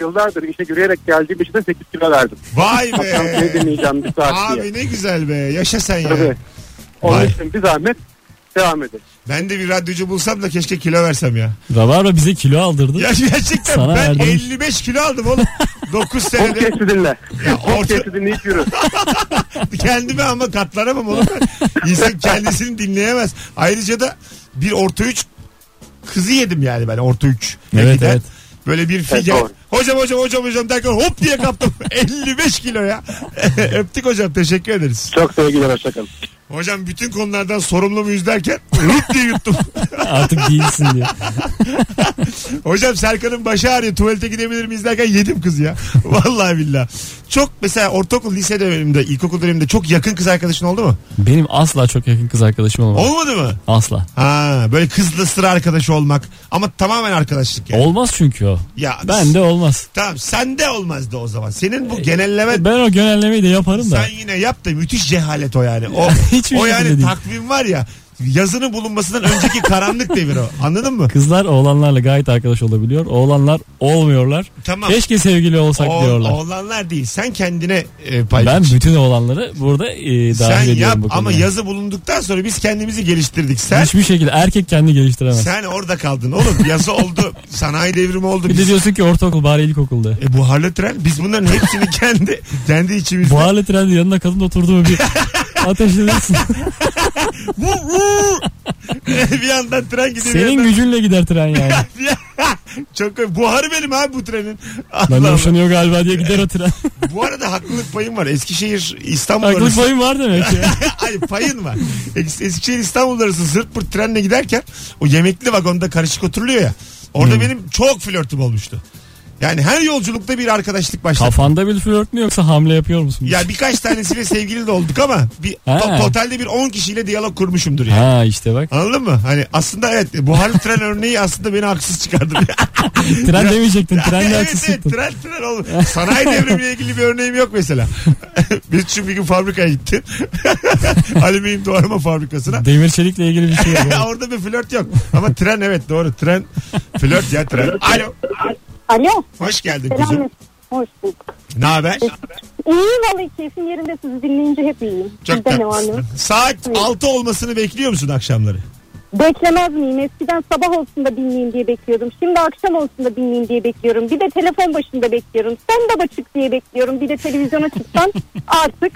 [SPEAKER 9] yıllardır işe yürüyerek geldiğim için de 8 kilo verdim.
[SPEAKER 2] Vay
[SPEAKER 9] Akşam seni
[SPEAKER 2] be.
[SPEAKER 9] dinleyeceğim bir saat diye.
[SPEAKER 2] Abi ne güzel be. Yaşa sen ya.
[SPEAKER 9] Tabii. Onun
[SPEAKER 2] Vay.
[SPEAKER 9] için bir zahmet devam edin.
[SPEAKER 2] Ben de bir radyocu bulsam da keşke kilo versem ya.
[SPEAKER 3] Rabarba bize kilo aldırdı.
[SPEAKER 2] Ya gerçekten
[SPEAKER 3] Sana
[SPEAKER 2] ben
[SPEAKER 3] verdim.
[SPEAKER 2] 55 kilo aldım oğlum. 9 senede
[SPEAKER 9] Podcast'i dinle.
[SPEAKER 2] Ya orta-
[SPEAKER 9] Podcast'i dinleyip yürü.
[SPEAKER 2] kendime ama katlanamam oğlum. ben. İnsan kendisini dinleyemez. Ayrıca da bir orta 3 kızı yedim yani ben orta 3.
[SPEAKER 3] Evet, evet.
[SPEAKER 2] Böyle bir figen.
[SPEAKER 9] doğru.
[SPEAKER 2] hocam hocam hocam hocam derken hop diye kaptım. 55 kilo ya. Öptük hocam teşekkür ederiz.
[SPEAKER 9] Çok sevgiler hoşçakalın.
[SPEAKER 2] Hocam bütün konulardan sorumlu muyuz derken hop diye yuttum.
[SPEAKER 3] Artık değilsin diye.
[SPEAKER 2] Hocam Serkan'ın başı ağrıyor tuvalete gidebilir miyiz derken yedim kız ya. Vallahi billahi. Çok mesela ortaokul lise döneminde ilkokul döneminde çok yakın kız arkadaşın oldu mu?
[SPEAKER 3] Benim asla çok yakın kız arkadaşım olmaz.
[SPEAKER 2] Olmadı mı?
[SPEAKER 3] Asla.
[SPEAKER 2] Ha böyle kızla sıra arkadaşı olmak ama tamamen arkadaşlık yani.
[SPEAKER 3] Olmaz çünkü o.
[SPEAKER 2] ya
[SPEAKER 3] Ben de olmaz.
[SPEAKER 2] Tamam sende olmazdı o zaman. Senin bu genelleme
[SPEAKER 3] e, Ben o genellemeyi de yaparım da.
[SPEAKER 2] sen yine yap da müthiş cehalet o yani. O,
[SPEAKER 3] Hiçbir şey
[SPEAKER 2] o
[SPEAKER 3] şekilde
[SPEAKER 2] yani
[SPEAKER 3] değil.
[SPEAKER 2] takvim var ya yazının bulunmasından önceki karanlık devir o. Anladın mı?
[SPEAKER 3] Kızlar oğlanlarla gayet arkadaş olabiliyor. Oğlanlar olmuyorlar.
[SPEAKER 2] Tamam.
[SPEAKER 3] Keşke sevgili olsak
[SPEAKER 2] O-
[SPEAKER 3] diyorlar.
[SPEAKER 2] oğlanlar değil. Sen kendine e,
[SPEAKER 3] ben
[SPEAKER 2] paylaş.
[SPEAKER 3] bütün oğlanları burada e, dahil
[SPEAKER 2] sen
[SPEAKER 3] ediyorum
[SPEAKER 2] yap
[SPEAKER 3] bu konuya.
[SPEAKER 2] ama yazı bulunduktan sonra biz kendimizi geliştirdik. Sen
[SPEAKER 3] Hiçbir şekilde erkek kendini geliştiremez.
[SPEAKER 2] sen orada kaldın oğlum. Yazı oldu. Sanayi devrimi oldu.
[SPEAKER 3] Bir de
[SPEAKER 2] Biz,
[SPEAKER 3] diyorsun ki ortaokul bari ilkokulda.
[SPEAKER 2] e, buharlı tren. Biz bunların hepsini kendi kendi içimizde.
[SPEAKER 3] Buharlı trendi yanına kadın oturdu mu bir ateşlenirsin.
[SPEAKER 2] Vu- vu! bir yandan tren gidiyor. bir
[SPEAKER 3] Senin
[SPEAKER 2] yandan-
[SPEAKER 3] gücünle gider tren yani.
[SPEAKER 2] Çok komik. Buharı benim abi bu trenin. Allah
[SPEAKER 3] Ben
[SPEAKER 2] Allah.
[SPEAKER 3] hoşlanıyor galiba diye gider o tren.
[SPEAKER 2] Bu arada haklılık payım var. Eskişehir İstanbul
[SPEAKER 3] Aklın
[SPEAKER 2] arası.
[SPEAKER 3] payım var demek ki.
[SPEAKER 2] Ay payın var. Es- Eskişehir İstanbul arası zırt pırt trenle giderken o yemekli vagonda karışık oturuluyor ya.
[SPEAKER 3] Hmm.
[SPEAKER 2] Orada benim çok flörtüm olmuştu. Yani her yolculukta bir arkadaşlık başladı.
[SPEAKER 3] Kafanda bir flört mü yoksa hamle yapıyor musun?
[SPEAKER 2] Ya birkaç tanesiyle sevgili de olduk ama bir
[SPEAKER 3] Ha.
[SPEAKER 2] to- totalde bir 10 kişiyle diyalog kurmuşumdur yani.
[SPEAKER 3] Ha işte bak.
[SPEAKER 2] Anladın mı? Hani aslında evet buharlı tren örneği aslında beni haksız çıkardı.
[SPEAKER 3] Tren demeyecektin. Tren de
[SPEAKER 2] evet, evet,
[SPEAKER 3] haksızsın.
[SPEAKER 2] tren tren oğlum. Sanayi devrimiyle ilgili bir örneğim yok mesela. Biz çünkü bir gün fabrikaya gittim. Alüminyum doğrama fabrikasına.
[SPEAKER 3] Demir çelikle ilgili bir şey yok.
[SPEAKER 2] Orada bir flört yok. Ama tren evet doğru tren. Flört ya tren. Alo.
[SPEAKER 10] Alo.
[SPEAKER 2] Hoş geldin
[SPEAKER 10] Selam.
[SPEAKER 2] kuzum.
[SPEAKER 10] Hoş bulduk.
[SPEAKER 2] Ne haber?
[SPEAKER 10] İyi vallahi keyfim yerinde sizi dinleyince hep iyiyim.
[SPEAKER 2] Çok
[SPEAKER 10] Sizde ne var ne yok?
[SPEAKER 2] tatlısın. Saat 6 olmasını bekliyor musun akşamları?
[SPEAKER 10] Beklemez miyim? Eskiden sabah olsun da dinleyeyim diye bekliyordum. Şimdi akşam olsun da dinleyeyim diye bekliyorum. Bir de telefon başında bekliyorum. Sen de açık diye bekliyorum. Bir de televizyona çıksan artık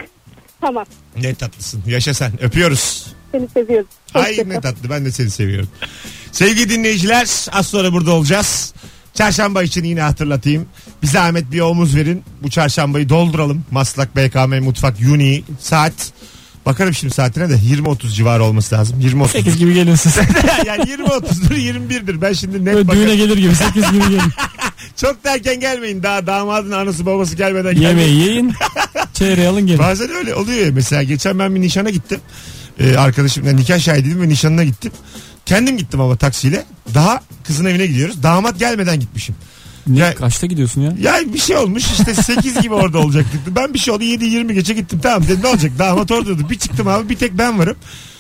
[SPEAKER 10] tamam.
[SPEAKER 2] Ne tatlısın. Yaşa sen. Öpüyoruz.
[SPEAKER 10] Seni seviyorum.
[SPEAKER 2] Ay
[SPEAKER 10] Hoşça
[SPEAKER 2] ne
[SPEAKER 10] kal.
[SPEAKER 2] tatlı ben de seni seviyorum. Sevgili dinleyiciler az sonra burada olacağız. Çarşamba için yine hatırlatayım. Bize Ahmet bir omuz verin. Bu çarşambayı dolduralım. Maslak BKM Mutfak Uni saat. Bakarım şimdi saatine de 20.30 civarı olması lazım. 20.30.
[SPEAKER 3] 8 gibi gelin siz.
[SPEAKER 2] yani 20.30'dur 21'dir. Ben şimdi net
[SPEAKER 3] Böyle düğüne
[SPEAKER 2] bakarım.
[SPEAKER 3] gelir gibi 8 gibi gelin.
[SPEAKER 2] Çok da erken gelmeyin. Daha damadın anası babası gelmeden gelmeyin.
[SPEAKER 3] Yemeği yiyin. Çeyreği alın gelin.
[SPEAKER 2] Bazen öyle oluyor ya. Mesela geçen ben bir nişana gittim. Ee, arkadaşımla nikah şahidiydim ve nişanına gittim. Kendim gittim ama taksiyle. Daha kızın evine gidiyoruz. Damat gelmeden gitmişim.
[SPEAKER 3] Ne,
[SPEAKER 2] Ya-
[SPEAKER 3] kaçta gidiyorsun ya?
[SPEAKER 2] Ya bir şey olmuş işte 8 gibi orada olacaktık. Ben bir şey oldu 7-20 geçe gittim. Tamam dedim ne olacak damat oradaydı. Bir çıktım abi bir tek ben varım.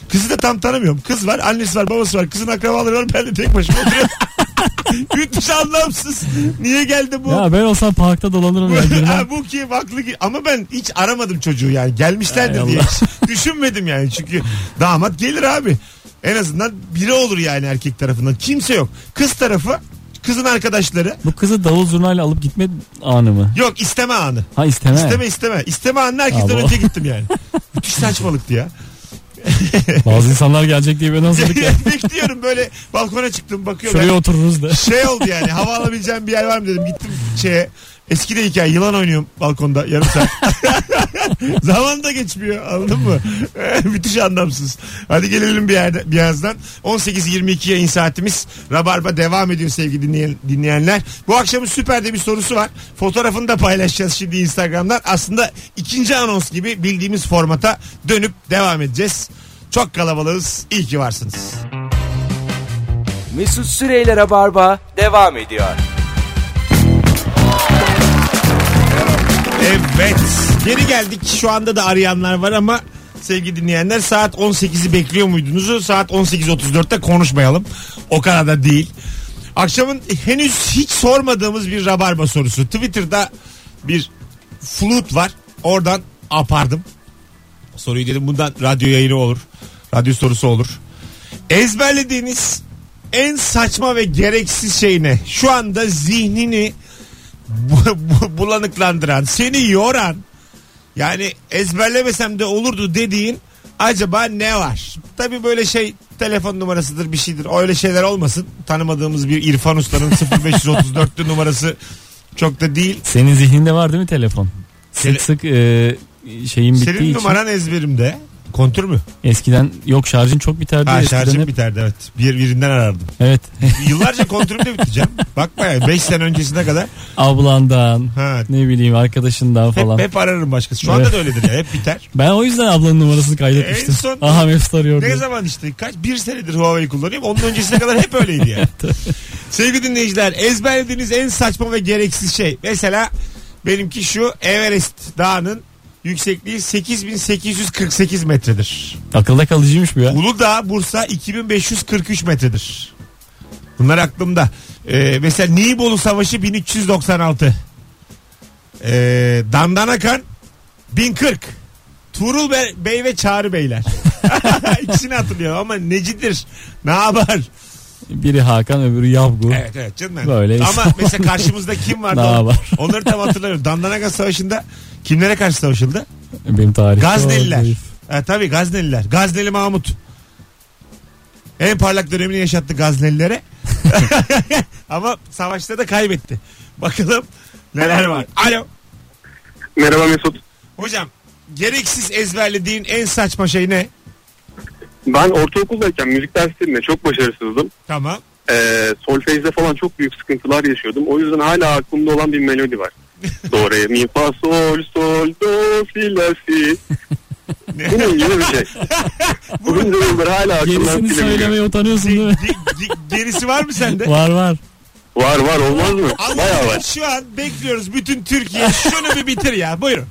[SPEAKER 2] Kızı da tam tanımıyorum. Kız var annesi var babası var. Kızın akrabaları var ben de tek başıma oturuyorum. Müthiş anlamsız. Niye geldi bu?
[SPEAKER 3] Ya ben olsam parkta dolanırım ya girmem.
[SPEAKER 2] Ha, bu ki haklı ki ama ben hiç aramadım çocuğu yani gelmişlerdir
[SPEAKER 3] Ay
[SPEAKER 2] diye
[SPEAKER 3] Allah.
[SPEAKER 2] hiç düşünmedim yani çünkü damat gelir abi en azından biri olur yani erkek tarafından kimse yok kız tarafı kızın arkadaşları
[SPEAKER 3] Bu kızı davul zurnayla alıp gitme anı mı?
[SPEAKER 2] yok isteme anı
[SPEAKER 3] Ha isteme.
[SPEAKER 2] isteme isteme isteme anına herkesten
[SPEAKER 3] Allah.
[SPEAKER 2] önce gittim yani müthiş saçmalıktı ya
[SPEAKER 3] Bazı insanlar gelecek diye ben hazırlık ya.
[SPEAKER 2] bekliyorum böyle balkona çıktım bakıyorum
[SPEAKER 3] Şuraya otururuz da.
[SPEAKER 2] şey oldu yani hava alabileceğim bir yer var mı dedim gittim şeye eski de hikaye yılan oynuyorum balkonda yarım saat. Zaman da geçmiyor anladın mı? Müthiş anlamsız. Hadi gelelim bir yerde birazdan. 18.22 yayın saatimiz. Rabarba devam ediyor sevgili dinleyen, dinleyenler. Bu akşamın süper de bir sorusu var. Fotoğrafını da paylaşacağız şimdi Instagram'dan. Aslında ikinci anons gibi bildiğimiz formata dönüp devam edeceğiz. Çok kalabalığız. İyi ki varsınız.
[SPEAKER 1] Mesut Süreyler'e barba devam ediyor.
[SPEAKER 2] Evet. Geri geldik. Şu anda da arayanlar var ama sevgili dinleyenler saat 18'i bekliyor muydunuz? Saat 18.34'te konuşmayalım. O kadar da değil. Akşamın henüz hiç sormadığımız bir rabarba sorusu. Twitter'da bir flut var. Oradan apardım. Soruyu dedim bundan radyo yayını olur. Radyo sorusu olur. Ezberlediğiniz en saçma ve gereksiz şey ne? Şu anda zihnini bu- bu- bulanıklandıran, seni yoran yani ezberlemesem de olurdu dediğin acaba ne var? Tabii böyle şey telefon numarasıdır bir şeydir. Öyle şeyler olmasın. Tanımadığımız bir İrfan Usta'nın 0534'lü numarası çok da değil.
[SPEAKER 3] Senin zihninde var değil mi telefon?
[SPEAKER 2] Senin-
[SPEAKER 3] Sık sık e, şeyin bittiği
[SPEAKER 2] Senin
[SPEAKER 3] için.
[SPEAKER 2] numaran ezberimde. Kontür mü?
[SPEAKER 3] Eskiden yok şarjın çok biterdi.
[SPEAKER 2] Ha
[SPEAKER 3] eskiden
[SPEAKER 2] şarjım
[SPEAKER 3] hep-
[SPEAKER 2] biterdi evet. Bir, birinden arardım.
[SPEAKER 3] Evet.
[SPEAKER 2] Yıllarca kontürümde biteceğim. Bakma ya 5 sene öncesine kadar.
[SPEAKER 3] Ablandan
[SPEAKER 2] Ha,
[SPEAKER 3] ne bileyim arkadaşından
[SPEAKER 2] hep,
[SPEAKER 3] falan.
[SPEAKER 2] hep ararım başkası. Şu anda da öyledir ya. Hep biter.
[SPEAKER 3] Ben o yüzden ablanın numarasını kaydetmiştim.
[SPEAKER 2] En son-
[SPEAKER 3] Aha Mesut arıyor
[SPEAKER 2] Ne
[SPEAKER 3] diye.
[SPEAKER 2] zaman işte kaç bir senedir Huawei kullanıyorum. Onun öncesine kadar hep öyleydi yani. Sevgili dinleyiciler ezberlediğiniz en saçma ve gereksiz şey. Mesela benimki şu Everest Dağı'nın yüksekliği 8848 metredir.
[SPEAKER 3] Akılda kalıcıymış bu ya.
[SPEAKER 2] Uludağ, Bursa 2543 metredir. Bunlar aklımda. Ee, mesela Nibolu Savaşı 1396. Ee, Dandanakan 1040. Tuğrul Be- Bey ve Çağrı Beyler. İkisini hatırlıyorum ama necidir? Ne haber?
[SPEAKER 3] Biri Hakan öbürü Yavgu.
[SPEAKER 2] Evet evet canım benim.
[SPEAKER 3] Böyle şey.
[SPEAKER 2] Ama mesela karşımızda kim vardı?
[SPEAKER 3] Ne
[SPEAKER 2] Onu-
[SPEAKER 3] var?
[SPEAKER 2] Onları tam hatırlamıyorum. Dandanaka Savaşı'nda kimlere karşı savaşıldı?
[SPEAKER 3] Benim tarihte
[SPEAKER 2] Gazneliler.
[SPEAKER 3] var herif.
[SPEAKER 2] E, tabii Gazneliler. Gazneli Mahmut. En parlak dönemini yaşattı Gaznelilere. Ama savaşta da kaybetti. Bakalım neler var. Alo.
[SPEAKER 9] Merhaba Mesut.
[SPEAKER 2] Hocam gereksiz ezberlediğin en saçma şey ne?
[SPEAKER 9] Ben ortaokuldayken müzik derslerinde çok başarısızdım.
[SPEAKER 2] Tamam.
[SPEAKER 9] Ee, solfejde falan çok büyük sıkıntılar yaşıyordum. O yüzden hala aklımda olan bir melodi var. do, re, mi, fa, sol, sol, do, si, la, si. Bunun gibi bir şey. Bunun yıldır hala aklımdan
[SPEAKER 3] Gerisini
[SPEAKER 9] silemiyorum.
[SPEAKER 3] söylemeye utanıyorsun değil mi?
[SPEAKER 2] Ge- Gerisi var mı sende?
[SPEAKER 3] var var.
[SPEAKER 9] Var var olmaz mı? Bayağı
[SPEAKER 2] Allah
[SPEAKER 9] var.
[SPEAKER 2] şu an bekliyoruz bütün Türkiye. Şunu bir bitir ya. Buyurun.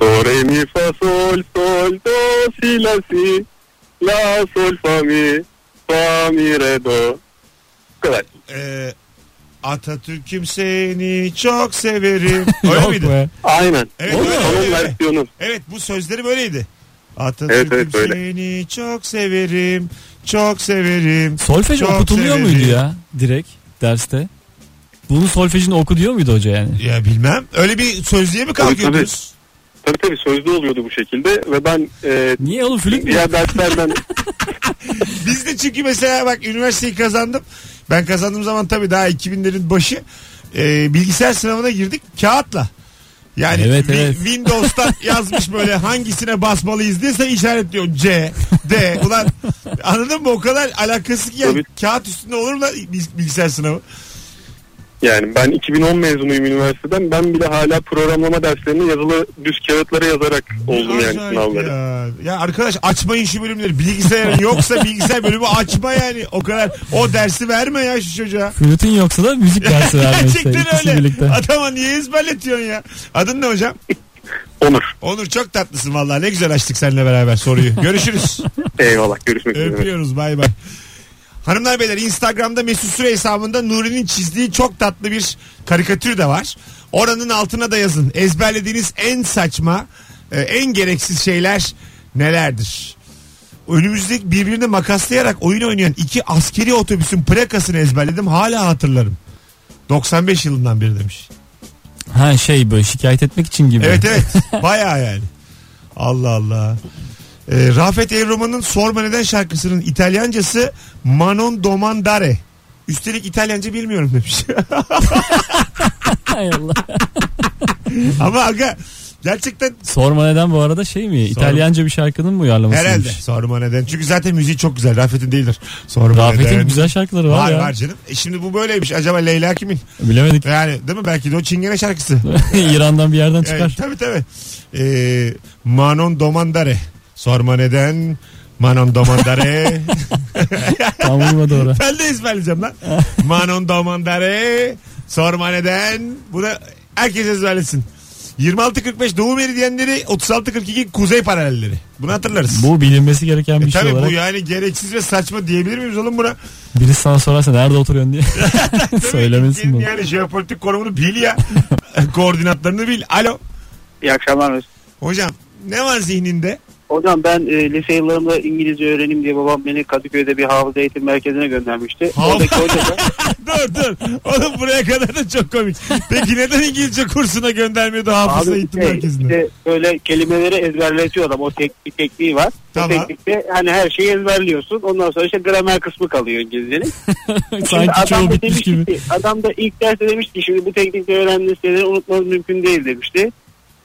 [SPEAKER 9] Do, re, mi, fa, sol, sol, do, si, la, si. La, sol, fa, mi. Fa, mi, re, do. Bu kadar.
[SPEAKER 2] Ee, Atatürk'üm seni çok severim. Öyle
[SPEAKER 3] Yok
[SPEAKER 2] miydi?
[SPEAKER 3] be.
[SPEAKER 9] Aynen.
[SPEAKER 2] Evet,
[SPEAKER 9] Bu
[SPEAKER 2] öyle,
[SPEAKER 9] Onun
[SPEAKER 2] öyle.
[SPEAKER 9] versiyonu.
[SPEAKER 2] Evet bu sözleri böyleydi. Atatürk'üm
[SPEAKER 9] Evet, evet, böyle.
[SPEAKER 2] seni çok severim. Çok severim.
[SPEAKER 3] Solfej
[SPEAKER 2] çok
[SPEAKER 3] okutuluyor
[SPEAKER 2] severim.
[SPEAKER 3] muydu ya direkt derste? Bunu solfejini oku diyor muydu hoca yani?
[SPEAKER 2] Ya bilmem. Öyle bir sözlüğe mi kalkıyordunuz?
[SPEAKER 9] Tabii tabii sözlü oluyordu bu şekilde ve ben e,
[SPEAKER 3] Niye oğlum flüt mü?
[SPEAKER 9] diğer derslerden
[SPEAKER 2] Biz de çünkü mesela bak üniversiteyi kazandım. Ben kazandığım zaman tabii daha 2000'lerin başı e, bilgisayar sınavına girdik kağıtla. Yani
[SPEAKER 3] Evet,
[SPEAKER 2] Windows'ta
[SPEAKER 3] evet.
[SPEAKER 2] Windows'tan yazmış böyle hangisine basmalıyız diye sen işaretliyorsun C, D. Ulan anladın mı o kadar alakası ki yani
[SPEAKER 9] Tabii.
[SPEAKER 2] kağıt üstünde olur mu lan bil- bilgisayar sınavı?
[SPEAKER 9] yani ben 2010 mezunuyum üniversiteden ben bile hala programlama derslerini yazılı düz kağıtlara yazarak oldum yani
[SPEAKER 2] Acayip
[SPEAKER 9] sınavları.
[SPEAKER 2] Ya. ya arkadaş açmayın şu bölümleri. Bilgisayarın yoksa bilgisayar bölümü açma yani. O kadar o dersi verme ya şu çocuğa.
[SPEAKER 3] Flütün yoksa da müzik dersi vermesi.
[SPEAKER 2] Gerçekten
[SPEAKER 3] İkisi
[SPEAKER 2] öyle.
[SPEAKER 3] birlikte.
[SPEAKER 2] Adama niye ezberletiyorsun ya? Adın ne hocam?
[SPEAKER 9] Onur.
[SPEAKER 2] Onur çok tatlısın vallahi. Ne güzel açtık seninle beraber soruyu. Görüşürüz.
[SPEAKER 9] Eyvallah görüşmek üzere.
[SPEAKER 2] Öpüyoruz bay bay. Hanımlar beyler Instagram'da Mesut Süre hesabında Nuri'nin çizdiği çok tatlı bir karikatür de var. Oranın altına da yazın. Ezberlediğiniz en saçma, e, en gereksiz şeyler nelerdir? Önümüzdeki birbirini makaslayarak oyun oynayan iki askeri otobüsün plakasını ezberledim. Hala hatırlarım. 95 yılından beri demiş.
[SPEAKER 3] Ha şey böyle şikayet etmek için gibi.
[SPEAKER 2] Evet evet. Bayağı yani. Allah Allah. Ee, Rafet Evroman'ın Sorma Neden şarkısının İtalyancası Manon Domandare. Üstelik İtalyanca bilmiyorum demiş.
[SPEAKER 3] Hay Allah.
[SPEAKER 2] Ama aga gerçekten
[SPEAKER 3] Sorma neden bu arada şey mi? İtalyanca bir şarkının mı uyarlamasıymış?
[SPEAKER 2] herhalde Sorma Neden. Çünkü zaten müziği çok güzel. Rafet'in değildir. Sorma Neden.
[SPEAKER 3] Rafet'in güzel şarkıları var,
[SPEAKER 2] Var
[SPEAKER 3] ya.
[SPEAKER 2] var canım. E şimdi bu böyleymiş. Acaba Leyla kimin?
[SPEAKER 3] Bilemedik.
[SPEAKER 2] Yani değil mi? Belki de o Çingene şarkısı.
[SPEAKER 3] İran'dan bir yerden
[SPEAKER 2] Evet,
[SPEAKER 3] çıkar.
[SPEAKER 2] tabii tabii. Ee, Manon Domandare. Sorma Neden. Manon Domandare.
[SPEAKER 3] Tam vurma doğru.
[SPEAKER 2] Ben de ezberleyeceğim lan. Manon Domandare. Sorma neden. Bu da herkes ezberlesin. 26.45 Doğu Meridyenleri 36.42 Kuzey Paralelleri. Bunu hatırlarız.
[SPEAKER 3] Bu bilinmesi gereken bir
[SPEAKER 2] E
[SPEAKER 3] şey
[SPEAKER 2] tabii
[SPEAKER 3] olarak.
[SPEAKER 2] bu yani gereksiz ve saçma diyebilir miyiz oğlum buna?
[SPEAKER 3] Birisi sana sorarsa nerede oturuyorsun diye. Söylemesin
[SPEAKER 2] Türkiye'nin
[SPEAKER 3] bunu.
[SPEAKER 2] yani jeopolitik konumunu bil ya. Koordinatlarını bil. Alo.
[SPEAKER 11] İyi akşamlar. Mesut.
[SPEAKER 2] Hocam ne var zihninde?
[SPEAKER 11] Hocam ben e, lise yıllarımda İngilizce öğrenim diye babam beni Kadıköy'de bir hafıza eğitim merkezine göndermişti.
[SPEAKER 2] Hafı-
[SPEAKER 11] Oradaki hoca da
[SPEAKER 2] dur dur. Oğlum buraya kadar da çok komik. Peki neden İngilizce kursuna göndermiyordu hafıza
[SPEAKER 11] abi
[SPEAKER 2] eğitim
[SPEAKER 11] şey,
[SPEAKER 2] merkezine?
[SPEAKER 11] işte böyle kelimeleri ezberletiyor adam. O tek, bir tekniği var.
[SPEAKER 2] Tamam.
[SPEAKER 11] O teknikte hani her şeyi ezberliyorsun. Ondan sonra işte gramer kısmı kalıyor İngilizcenin. Şimdi
[SPEAKER 3] Sanki çoğu
[SPEAKER 11] da
[SPEAKER 3] bitmiş
[SPEAKER 11] demiş
[SPEAKER 3] gibi.
[SPEAKER 11] ki, adam da ilk derste demiş ki şimdi bu teknikte öğrendiğiniz şeyleri unutmanız mümkün değil demişti.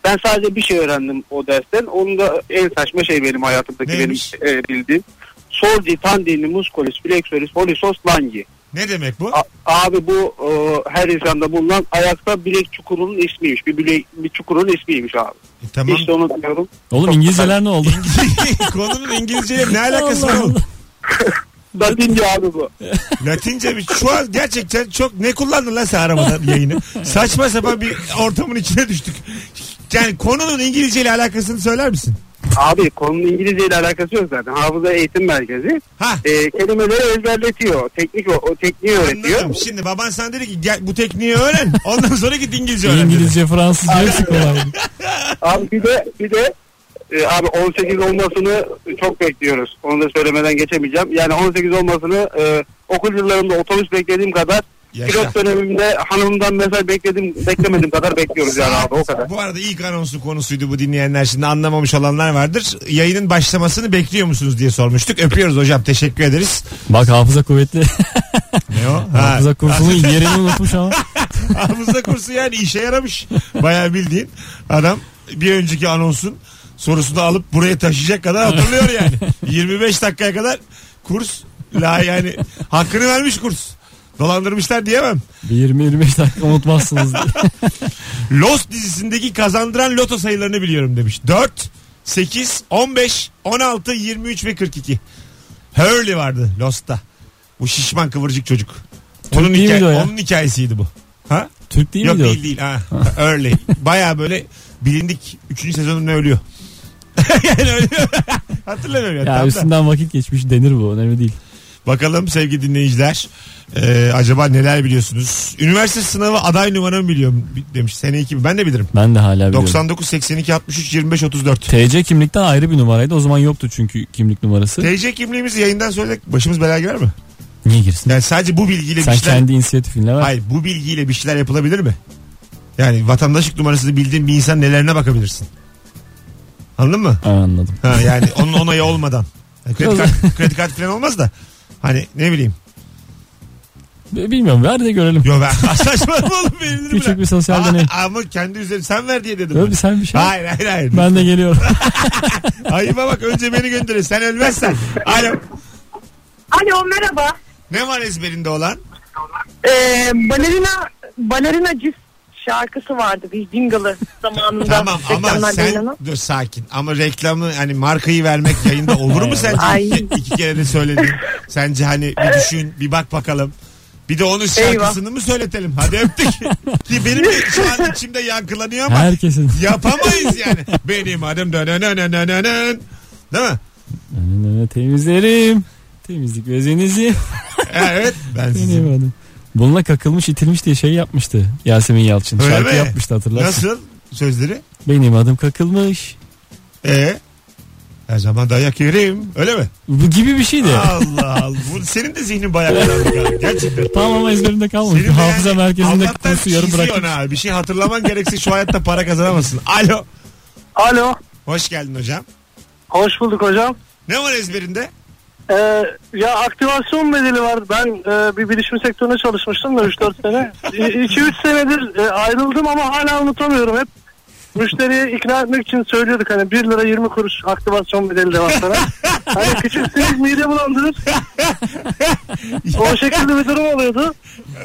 [SPEAKER 11] Ben sadece bir şey öğrendim o dersten. Onun da en saçma şey benim hayatımdaki
[SPEAKER 2] Neymiş?
[SPEAKER 11] benim e, bildiğim. Sordi, tandini, muscolis, flexoris, holisos, langi.
[SPEAKER 2] Ne demek bu?
[SPEAKER 11] A- abi bu e, her insanda bulunan ayakta bilek çukurunun ismiymiş. Bir, bilek, bir çukurun ismiymiş abi.
[SPEAKER 2] E, tamam.
[SPEAKER 11] Hiç de unutmuyorum.
[SPEAKER 3] Oğlum İngilizceler ne oldu?
[SPEAKER 2] Konunun İngilizceyle ne alakası var
[SPEAKER 3] Allah
[SPEAKER 2] oğlum?
[SPEAKER 11] Latince abi bu.
[SPEAKER 2] Latince bir şu an gerçekten çok ne kullandın lan sen arabada yayını? Saçma sapan bir ortamın içine düştük. Yani konunun İngilizce ile alakasını söyler misin?
[SPEAKER 11] Abi konunun İngilizce ile alakası yok zaten. Hafıza Eğitim Merkezi. E, kelimeleri ezberletiyor. Teknik o, o tekniği öğretiyor.
[SPEAKER 2] Anladım. Şimdi baban sana dedi ki gel bu tekniği öğren. Ondan sonra git İngilizce öğren. dedi.
[SPEAKER 3] İngilizce, Fransızca hepsi kolay.
[SPEAKER 11] Abi bir de bir de e, abi 18 olmasını çok bekliyoruz. Onu da söylemeden geçemeyeceğim. Yani 18 olmasını e, okul yıllarımda otobüs beklediğim kadar pilot dönemimde hanımımdan mesaj bekledim beklemedim kadar bekliyoruz yani abi o kadar.
[SPEAKER 2] Bu arada ilk anonsun konusuydu bu dinleyenler. Şimdi anlamamış olanlar vardır. Yayının başlamasını bekliyor musunuz diye sormuştuk. Öpüyoruz hocam. Teşekkür ederiz.
[SPEAKER 3] Bak hafıza kuvvetli.
[SPEAKER 2] Ne o? Ha.
[SPEAKER 3] hafıza kursunun yerini unutmuş ama.
[SPEAKER 2] Hafıza kursu yani işe yaramış. Bayağı bildiğin adam bir önceki anonsun sorusunu alıp buraya taşıyacak kadar hatırlıyor yani. 25 dakikaya kadar kurs la yani hakkını vermiş kurs. Dolandırmışlar diyemem.
[SPEAKER 3] Bir 20-25 dakika unutmazsınız. diye.
[SPEAKER 2] Lost dizisindeki kazandıran loto sayılarını biliyorum demiş. 4, 8, 15, 16, 23 ve 42. Hurley vardı Lost'ta. Bu şişman kıvırcık çocuk.
[SPEAKER 3] Onun
[SPEAKER 2] Onun,
[SPEAKER 3] değil
[SPEAKER 2] hikaye-
[SPEAKER 3] miydi o ya?
[SPEAKER 2] onun hikayesiydi bu. Ha?
[SPEAKER 3] Türk değil
[SPEAKER 2] Yok
[SPEAKER 3] miydi o?
[SPEAKER 2] değil değil. Ha. Hurley. Baya böyle bilindik 3. sezonunda ölüyor. yani ölüyor. Hatırlamıyorum ya.
[SPEAKER 3] Ya
[SPEAKER 2] tam da.
[SPEAKER 3] üstünden vakit geçmiş denir bu önemli değil.
[SPEAKER 2] Bakalım sevgili dinleyiciler. Ee, acaba neler biliyorsunuz? Üniversite sınavı aday numaramı biliyorum demiş. Sene 2000. Ben de bilirim.
[SPEAKER 3] Ben de hala biliyorum.
[SPEAKER 2] 99 82 63 25 34.
[SPEAKER 3] TC kimlikten ayrı bir numaraydı. O zaman yoktu çünkü kimlik numarası.
[SPEAKER 2] TC kimliğimizi yayından söyledik. Başımız belaya girer mi?
[SPEAKER 3] Niye girsin?
[SPEAKER 2] Yani sadece bu bilgiyle
[SPEAKER 3] Sen
[SPEAKER 2] bir şeyler...
[SPEAKER 3] kendi inisiyatifinle ver.
[SPEAKER 2] Hayır bu bilgiyle bir şeyler yapılabilir mi? Yani vatandaşlık numarasını bildiğin bir insan nelerine bakabilirsin? Anladın mı?
[SPEAKER 3] Ha, anladım.
[SPEAKER 2] Ha, yani onun onayı olmadan. Yani Kredi,
[SPEAKER 3] Biraz-
[SPEAKER 2] kart, kredi kartı falan olmaz da. Hani ne bileyim.
[SPEAKER 3] B- Bilmiyorum ver de görelim.
[SPEAKER 2] Yo ben saçmalama oğlum verilir mi?
[SPEAKER 3] Küçük
[SPEAKER 2] lan?
[SPEAKER 3] bir sosyal
[SPEAKER 2] Aa,
[SPEAKER 3] deney.
[SPEAKER 2] Ama kendi üzerine sen ver diye dedim.
[SPEAKER 3] Yok,
[SPEAKER 2] ben.
[SPEAKER 3] sen bir şey-
[SPEAKER 2] Hayır hayır hayır.
[SPEAKER 3] Ben de geliyorum.
[SPEAKER 2] Ayıba bak önce beni gönderir. Sen ölmezsen. Alo.
[SPEAKER 12] Alo merhaba.
[SPEAKER 2] Ne var ezberinde olan?
[SPEAKER 12] Ee, balerina balerina cif şarkısı vardı bir jingle'ı zamanında.
[SPEAKER 2] Tamam ama
[SPEAKER 12] reklamlarda
[SPEAKER 2] sen
[SPEAKER 12] yayınlanan.
[SPEAKER 2] dur sakin. Ama reklamı hani markayı vermek yayında olur mu sence?
[SPEAKER 12] Ay.
[SPEAKER 2] İki, iki kere de söyledim. Sence hani bir düşün bir bak bakalım. Bir de onun şarkısını mı söyletelim? Hadi öptük. Ki benim de şu an içimde yankılanıyor ama
[SPEAKER 3] Herkesin.
[SPEAKER 2] yapamayız yani. Benim adım dönönönönönön. Değil mi?
[SPEAKER 3] Önüne Temizlerim. Temizlik bezenizi.
[SPEAKER 2] E, Evet ben sizin.
[SPEAKER 3] Benim adım. Bununla kakılmış itilmiş diye şey yapmıştı Yasemin Yalçın.
[SPEAKER 2] Öyle
[SPEAKER 3] Şarkı
[SPEAKER 2] mi?
[SPEAKER 3] yapmıştı hatırlarsın.
[SPEAKER 2] Nasıl sözleri?
[SPEAKER 3] Benim adım kakılmış.
[SPEAKER 2] Ee, her zaman dayak yerim. Öyle mi?
[SPEAKER 3] Bu gibi bir şeydi.
[SPEAKER 2] Allah Allah. Bu, senin de zihnin bayağı karanlık abi. Gerçekten.
[SPEAKER 3] Tamam ama ezberimde kalmamış.
[SPEAKER 2] Senin de
[SPEAKER 3] Hafıza
[SPEAKER 2] yani
[SPEAKER 3] merkezinde
[SPEAKER 2] Allah'tan
[SPEAKER 3] kursu yarım
[SPEAKER 2] çiziyorsun
[SPEAKER 3] bırakmış.
[SPEAKER 2] ha. Bir şey hatırlaman gerekse şu hayatta para kazanamazsın. Alo.
[SPEAKER 11] Alo.
[SPEAKER 2] Hoş geldin hocam.
[SPEAKER 11] Hoş bulduk hocam.
[SPEAKER 2] Ne var ezberinde?
[SPEAKER 11] Ee, ya aktivasyon bedeli var. Ben e, bir bilişim sektöründe çalışmıştım da 3-4 sene. 2-3 senedir e, ayrıldım ama hala unutamıyorum. Hep müşteriyi ikna etmek için söylüyorduk hani 1 lira 20 kuruş aktivasyon bedeli de var sana. hani küçültseniz mide bulandırır. o şekilde bir durum oluyordu.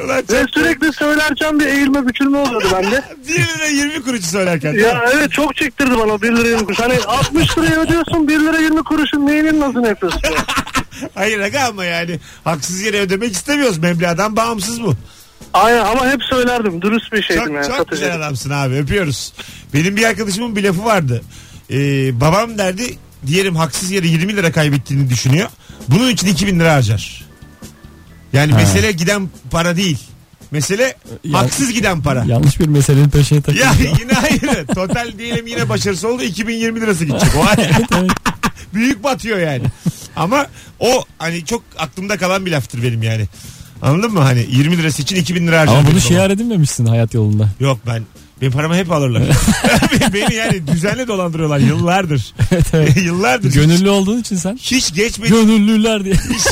[SPEAKER 2] Ulan
[SPEAKER 11] Ve
[SPEAKER 2] çok-
[SPEAKER 11] sürekli söylerken bir eğilme bükülme oluyordu bende.
[SPEAKER 2] 1 lira 20 kuruşu söylerken.
[SPEAKER 11] Ya evet çok çektirdi bana 1 lira 20 kuruş. Hani 60 liraya ödüyorsun 1 lira 20 kuruşun neyinin nazını yapıyorsun ya?
[SPEAKER 2] Hayır aga ama yani haksız yere ödemek istemiyoruz. Meblağdan bağımsız bu.
[SPEAKER 11] Aynen ama hep söylerdim. Dürüst bir şeydim
[SPEAKER 2] çok
[SPEAKER 11] yani.
[SPEAKER 2] çok
[SPEAKER 11] satıcı.
[SPEAKER 2] güzel adamsın abi öpüyoruz. Benim bir arkadaşımın bir lafı vardı. Ee, babam derdi diyelim haksız yere 20 lira kaybettiğini düşünüyor. Bunun için 2000 lira harcar. Yani mesele giden para değil. Mesele
[SPEAKER 3] Ya-
[SPEAKER 2] haksız giden para.
[SPEAKER 3] Yanlış bir meselenin peşine takıldı.
[SPEAKER 2] Ya yine hayır. Total diyelim yine başarısı oldu. 2020 lirası gidecek. O ayrı. Büyük batıyor yani. Ama o hani çok aklımda kalan bir laftır benim yani. Anladın mı? Hani 20 lirası için 2000 lira harcadım.
[SPEAKER 3] Ama bunu şey şiar edinmemişsin hayat yolunda.
[SPEAKER 2] Yok ben benim paramı hep alırlar. Beni yani düzenli dolandırıyorlar yıllardır.
[SPEAKER 3] Evet, evet.
[SPEAKER 2] yıllardır.
[SPEAKER 3] Gönüllü olduğun için sen.
[SPEAKER 2] Hiç geçmediğim,
[SPEAKER 3] Gönüllüler diye.
[SPEAKER 2] hiç,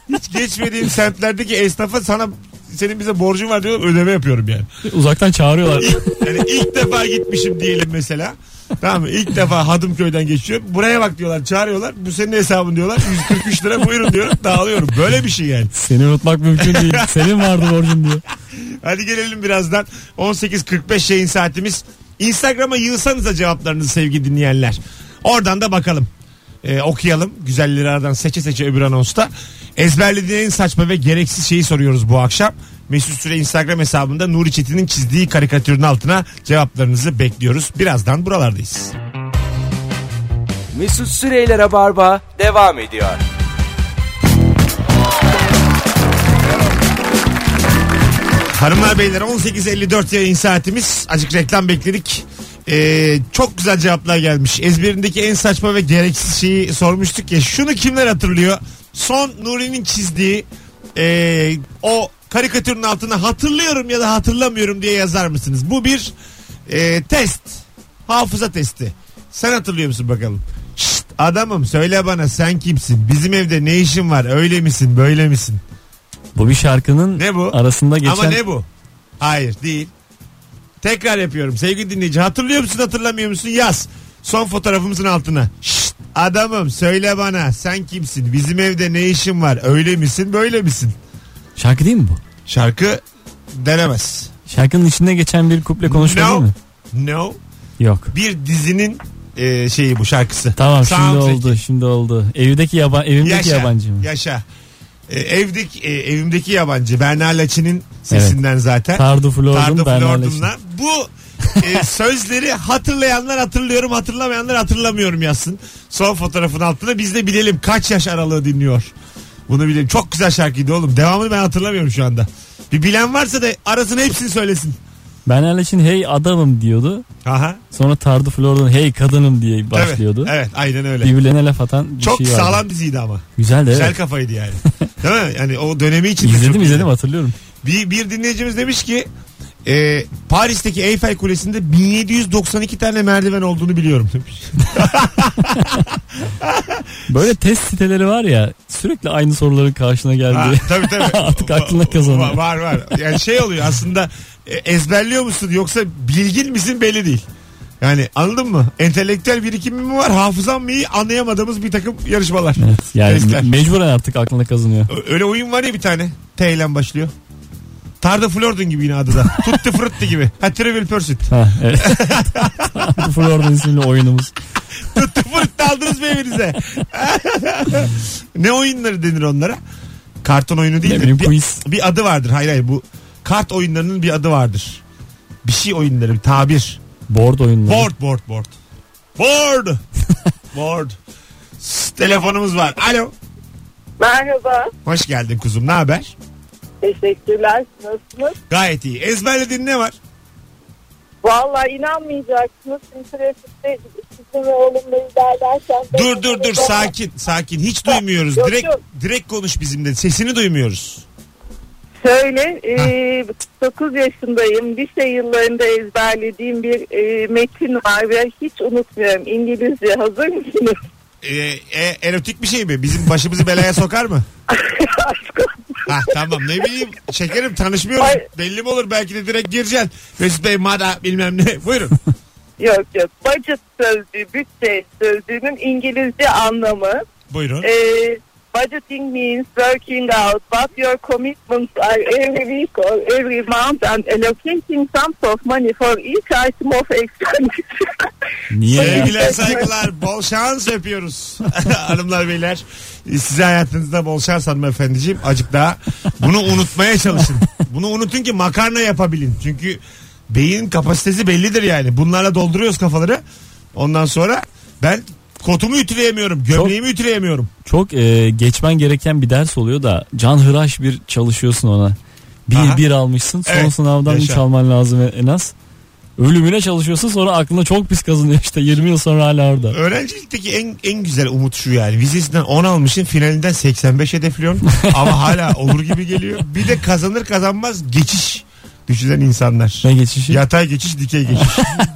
[SPEAKER 2] hiç geçmediğim semtlerdeki esnafa sana senin bize borcun var diyorum ödeme yapıyorum yani.
[SPEAKER 3] Uzaktan çağırıyorlar.
[SPEAKER 2] Yani ilk defa gitmişim diyelim mesela. Tamam mı? İlk defa Hadımköy'den geçiyorum. Buraya bak diyorlar çağırıyorlar. Bu senin hesabın diyorlar. 143 lira buyurun diyorum. Dağılıyorum. Böyle bir şey yani.
[SPEAKER 3] Seni unutmak mümkün değil. Senin vardı borcun diyor.
[SPEAKER 2] Hadi gelelim birazdan. 18.45 yayın saatimiz. Instagram'a yığsanıza cevaplarınızı sevgili dinleyenler. Oradan da bakalım. e, okuyalım. Güzelleri aradan seçe seçe öbür anonsta. Ezberlediğin en saçma ve gereksiz şeyi soruyoruz bu akşam. Mesut Süre Instagram hesabında Nuri Çetin'in çizdiği karikatürün altına cevaplarınızı bekliyoruz. Birazdan buralardayız.
[SPEAKER 1] Mesut Süreyler'e barba devam ediyor.
[SPEAKER 2] Hanımlar beyler 18.54 yayın saatimiz. Acık reklam bekledik. Ee, çok güzel cevaplar gelmiş. Ezberindeki en saçma ve gereksiz şeyi sormuştuk ya. Şunu kimler hatırlıyor? Son Nuri'nin çizdiği ee, o karikatürün altına hatırlıyorum ya da hatırlamıyorum diye yazar mısınız? Bu bir ee, test. Hafıza testi. Sen hatırlıyor musun bakalım? Şşt, adamım söyle bana sen kimsin? Bizim evde ne işin var? Öyle misin? Böyle misin?
[SPEAKER 3] Bu bir şarkının
[SPEAKER 2] Ne bu?
[SPEAKER 3] arasında geçen...
[SPEAKER 2] Ama ne bu? Hayır değil. Tekrar yapıyorum sevgili dinleyici. Hatırlıyor musun hatırlamıyor musun? Yaz. Son fotoğrafımızın altına. Şşt, adamım söyle bana sen kimsin? Bizim evde ne işin var? Öyle misin böyle misin?
[SPEAKER 3] Şarkı değil mi bu?
[SPEAKER 2] Şarkı denemez.
[SPEAKER 3] Şarkının içinde geçen bir kuple konuşma
[SPEAKER 2] No.
[SPEAKER 3] değil mi?
[SPEAKER 2] No.
[SPEAKER 3] Yok.
[SPEAKER 2] Bir dizinin e, şeyi bu şarkısı.
[SPEAKER 3] Tamam
[SPEAKER 2] Soundtrack.
[SPEAKER 3] şimdi oldu şimdi oldu. Evdeki yaban evimdeki
[SPEAKER 2] Yaşa,
[SPEAKER 3] yabancı mı?
[SPEAKER 2] Yaşa. E, evdeki, e, evimdeki yabancı Berna Laçin'in sesinden zaten.
[SPEAKER 3] Tardu Flordum,
[SPEAKER 2] Tardu
[SPEAKER 3] Berna
[SPEAKER 2] Flordum'la. Bu e, sözleri hatırlayanlar hatırlıyorum hatırlamayanlar hatırlamıyorum yazsın. Son fotoğrafın altına biz de bilelim kaç yaş aralığı dinliyor. Bunu bilelim. Çok güzel şarkıydı oğlum. Devamını ben hatırlamıyorum şu anda. Bir bilen varsa da arasın hepsini söylesin.
[SPEAKER 3] Ben Erleç'in hey adamım diyordu.
[SPEAKER 2] Aha.
[SPEAKER 3] Sonra Tardu Flord'un hey kadınım diye
[SPEAKER 2] Tabii.
[SPEAKER 3] başlıyordu.
[SPEAKER 2] Evet aynen öyle.
[SPEAKER 3] Birbirlerine laf atan bir
[SPEAKER 2] Çok
[SPEAKER 3] şey vardı.
[SPEAKER 2] sağlam diziydi ama.
[SPEAKER 3] Güzeldi
[SPEAKER 2] Güzel
[SPEAKER 3] evet.
[SPEAKER 2] kafaydı yani. Değil mi? Yani o dönemi için de çok
[SPEAKER 3] İzledim
[SPEAKER 2] güzel.
[SPEAKER 3] izledim hatırlıyorum.
[SPEAKER 2] Bir, bir dinleyicimiz demiş ki e, Paris'teki Eyfel Kulesi'nde 1792 tane merdiven olduğunu biliyorum demiş.
[SPEAKER 3] Böyle test siteleri var ya sürekli aynı soruların karşına
[SPEAKER 2] Ha,
[SPEAKER 3] geldi.
[SPEAKER 2] tabii tabii.
[SPEAKER 3] Artık aklına
[SPEAKER 2] Va-
[SPEAKER 3] kazanıyor.
[SPEAKER 2] Var var. Yani şey oluyor aslında e, ezberliyor musun yoksa bilgin misin belli değil. Yani anladın mı? Entelektüel birikimim mi var hafızam mı iyi anlayamadığımız bir takım yarışmalar.
[SPEAKER 3] Evet, yani
[SPEAKER 2] Testler.
[SPEAKER 3] me- mecburen artık aklına kazanıyor.
[SPEAKER 2] Ö- Öyle oyun var ya bir tane. T ile başlıyor. Tarda Flordun gibi yine adı da. Tutti Frutti gibi. Ha Trivial Pursuit.
[SPEAKER 3] Ha, evet. Tardu Flord'un isimli oyunumuz.
[SPEAKER 2] Tuttu fırıttı aldınız mı evinize? ne oyunları denir onlara? Karton oyunu değil
[SPEAKER 3] Ne
[SPEAKER 2] de
[SPEAKER 3] bileyim,
[SPEAKER 2] bir,
[SPEAKER 3] quiz.
[SPEAKER 2] bir adı vardır. Hayır hayır bu kart oyunlarının bir adı vardır. Bir şey oyunları bir tabir.
[SPEAKER 3] Board oyunları.
[SPEAKER 2] Board board board. Board. board. S- Telefonumuz var. Alo.
[SPEAKER 13] Merhaba.
[SPEAKER 2] Hoş geldin kuzum. Ne haber?
[SPEAKER 13] Teşekkürler. Nasılsınız?
[SPEAKER 2] Gayet iyi. Ezberlediğin ne var?
[SPEAKER 13] Valla inanmayacaksınız. Şimdi trafikte sizin ve oğlumla ilerlerken...
[SPEAKER 2] Dur dur dur sakin sakin. Hiç duymuyoruz.
[SPEAKER 13] Yok,
[SPEAKER 2] Direkt
[SPEAKER 13] yok.
[SPEAKER 2] direkt konuş bizimle. Sesini duymuyoruz.
[SPEAKER 13] Şöyle, e, 9 yaşındayım. Lise yıllarında ezberlediğim bir e, metin var ve hiç unutmuyorum. İngilizce hazır mısınız?
[SPEAKER 2] Ee, e, erotik bir şey mi? Bizim başımızı belaya sokar mı? ha tamam ne bileyim şekerim tanışmıyoruz.
[SPEAKER 13] Ay.
[SPEAKER 2] Belli mi olur belki de direkt gireceksin. Mesut Bey mada bilmem ne. Buyurun.
[SPEAKER 13] yok yok. Budget sözcüğü, bütçe sözcüğünün İngilizce anlamı.
[SPEAKER 2] Buyurun.
[SPEAKER 13] E, budgeting means working out what your commitments are every week or every month and allocating sums of money for each item of expenditure.
[SPEAKER 2] Ee,
[SPEAKER 3] Niye? ya?
[SPEAKER 2] Sevgiler saygılar bol şans öpüyoruz hanımlar beyler size hayatınızda bol şans hanımefendiciğim acık daha bunu unutmaya çalışın bunu unutun ki makarna yapabilin çünkü beyin kapasitesi bellidir yani bunlarla dolduruyoruz kafaları ondan sonra ben kotumu ütüleyemiyorum gömleğimi ütüleyemiyorum
[SPEAKER 3] Çok e, geçmen gereken bir ders oluyor da can hıraş bir çalışıyorsun ona. Bir
[SPEAKER 2] Aha.
[SPEAKER 3] bir almışsın son
[SPEAKER 2] Evet,
[SPEAKER 3] sınavdan
[SPEAKER 2] yaşa.
[SPEAKER 3] üç alman lazım e, en az. Ölümüne çalışıyorsun sonra aklına çok pis kazınıyor işte 20 yıl sonra hala orada.
[SPEAKER 2] Öğrencilikteki en en güzel umut şu yani. Vizesinden 10 almışsın finalinden 85 hedefliyorsun. Ama hala olur gibi geliyor. Bir de kazanır kazanmaz geçiş düşünen insanlar.
[SPEAKER 3] Ne geçişi?
[SPEAKER 2] Yatay geçiş, dikey geçiş.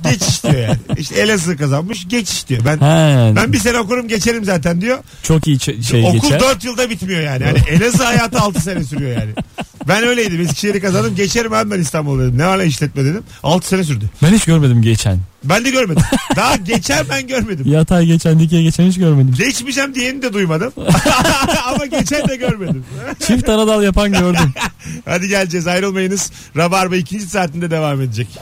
[SPEAKER 2] geçiş diyor yani. İşte Elazığ kazanmış, geçiş diyor. Ben
[SPEAKER 3] Ha,
[SPEAKER 2] ben bir sene okurum geçerim zaten diyor.
[SPEAKER 3] çok iyi ç- şey
[SPEAKER 2] Okul
[SPEAKER 3] geçer.
[SPEAKER 2] 4 yılda bitmiyor yani. yani Elazığ hayatı 6 sene sürüyor yani. Ben öyleydim. Eskişehir'i kazandım. Geçerim abi ben İstanbul'u dedim. Ne hala işletme dedim. 6 sene sürdü.
[SPEAKER 3] Ben hiç görmedim geçen.
[SPEAKER 2] Ben de görmedim. Daha geçer ben görmedim.
[SPEAKER 3] Yatay geçen dikey geçen hiç görmedim.
[SPEAKER 2] Geçmeyeceğim diyeni de duymadım. Ama geçen de görmedim.
[SPEAKER 3] Çift dal yapan gördüm.
[SPEAKER 2] Hadi geleceğiz ayrılmayınız. Rabarba ikinci saatinde devam edecek.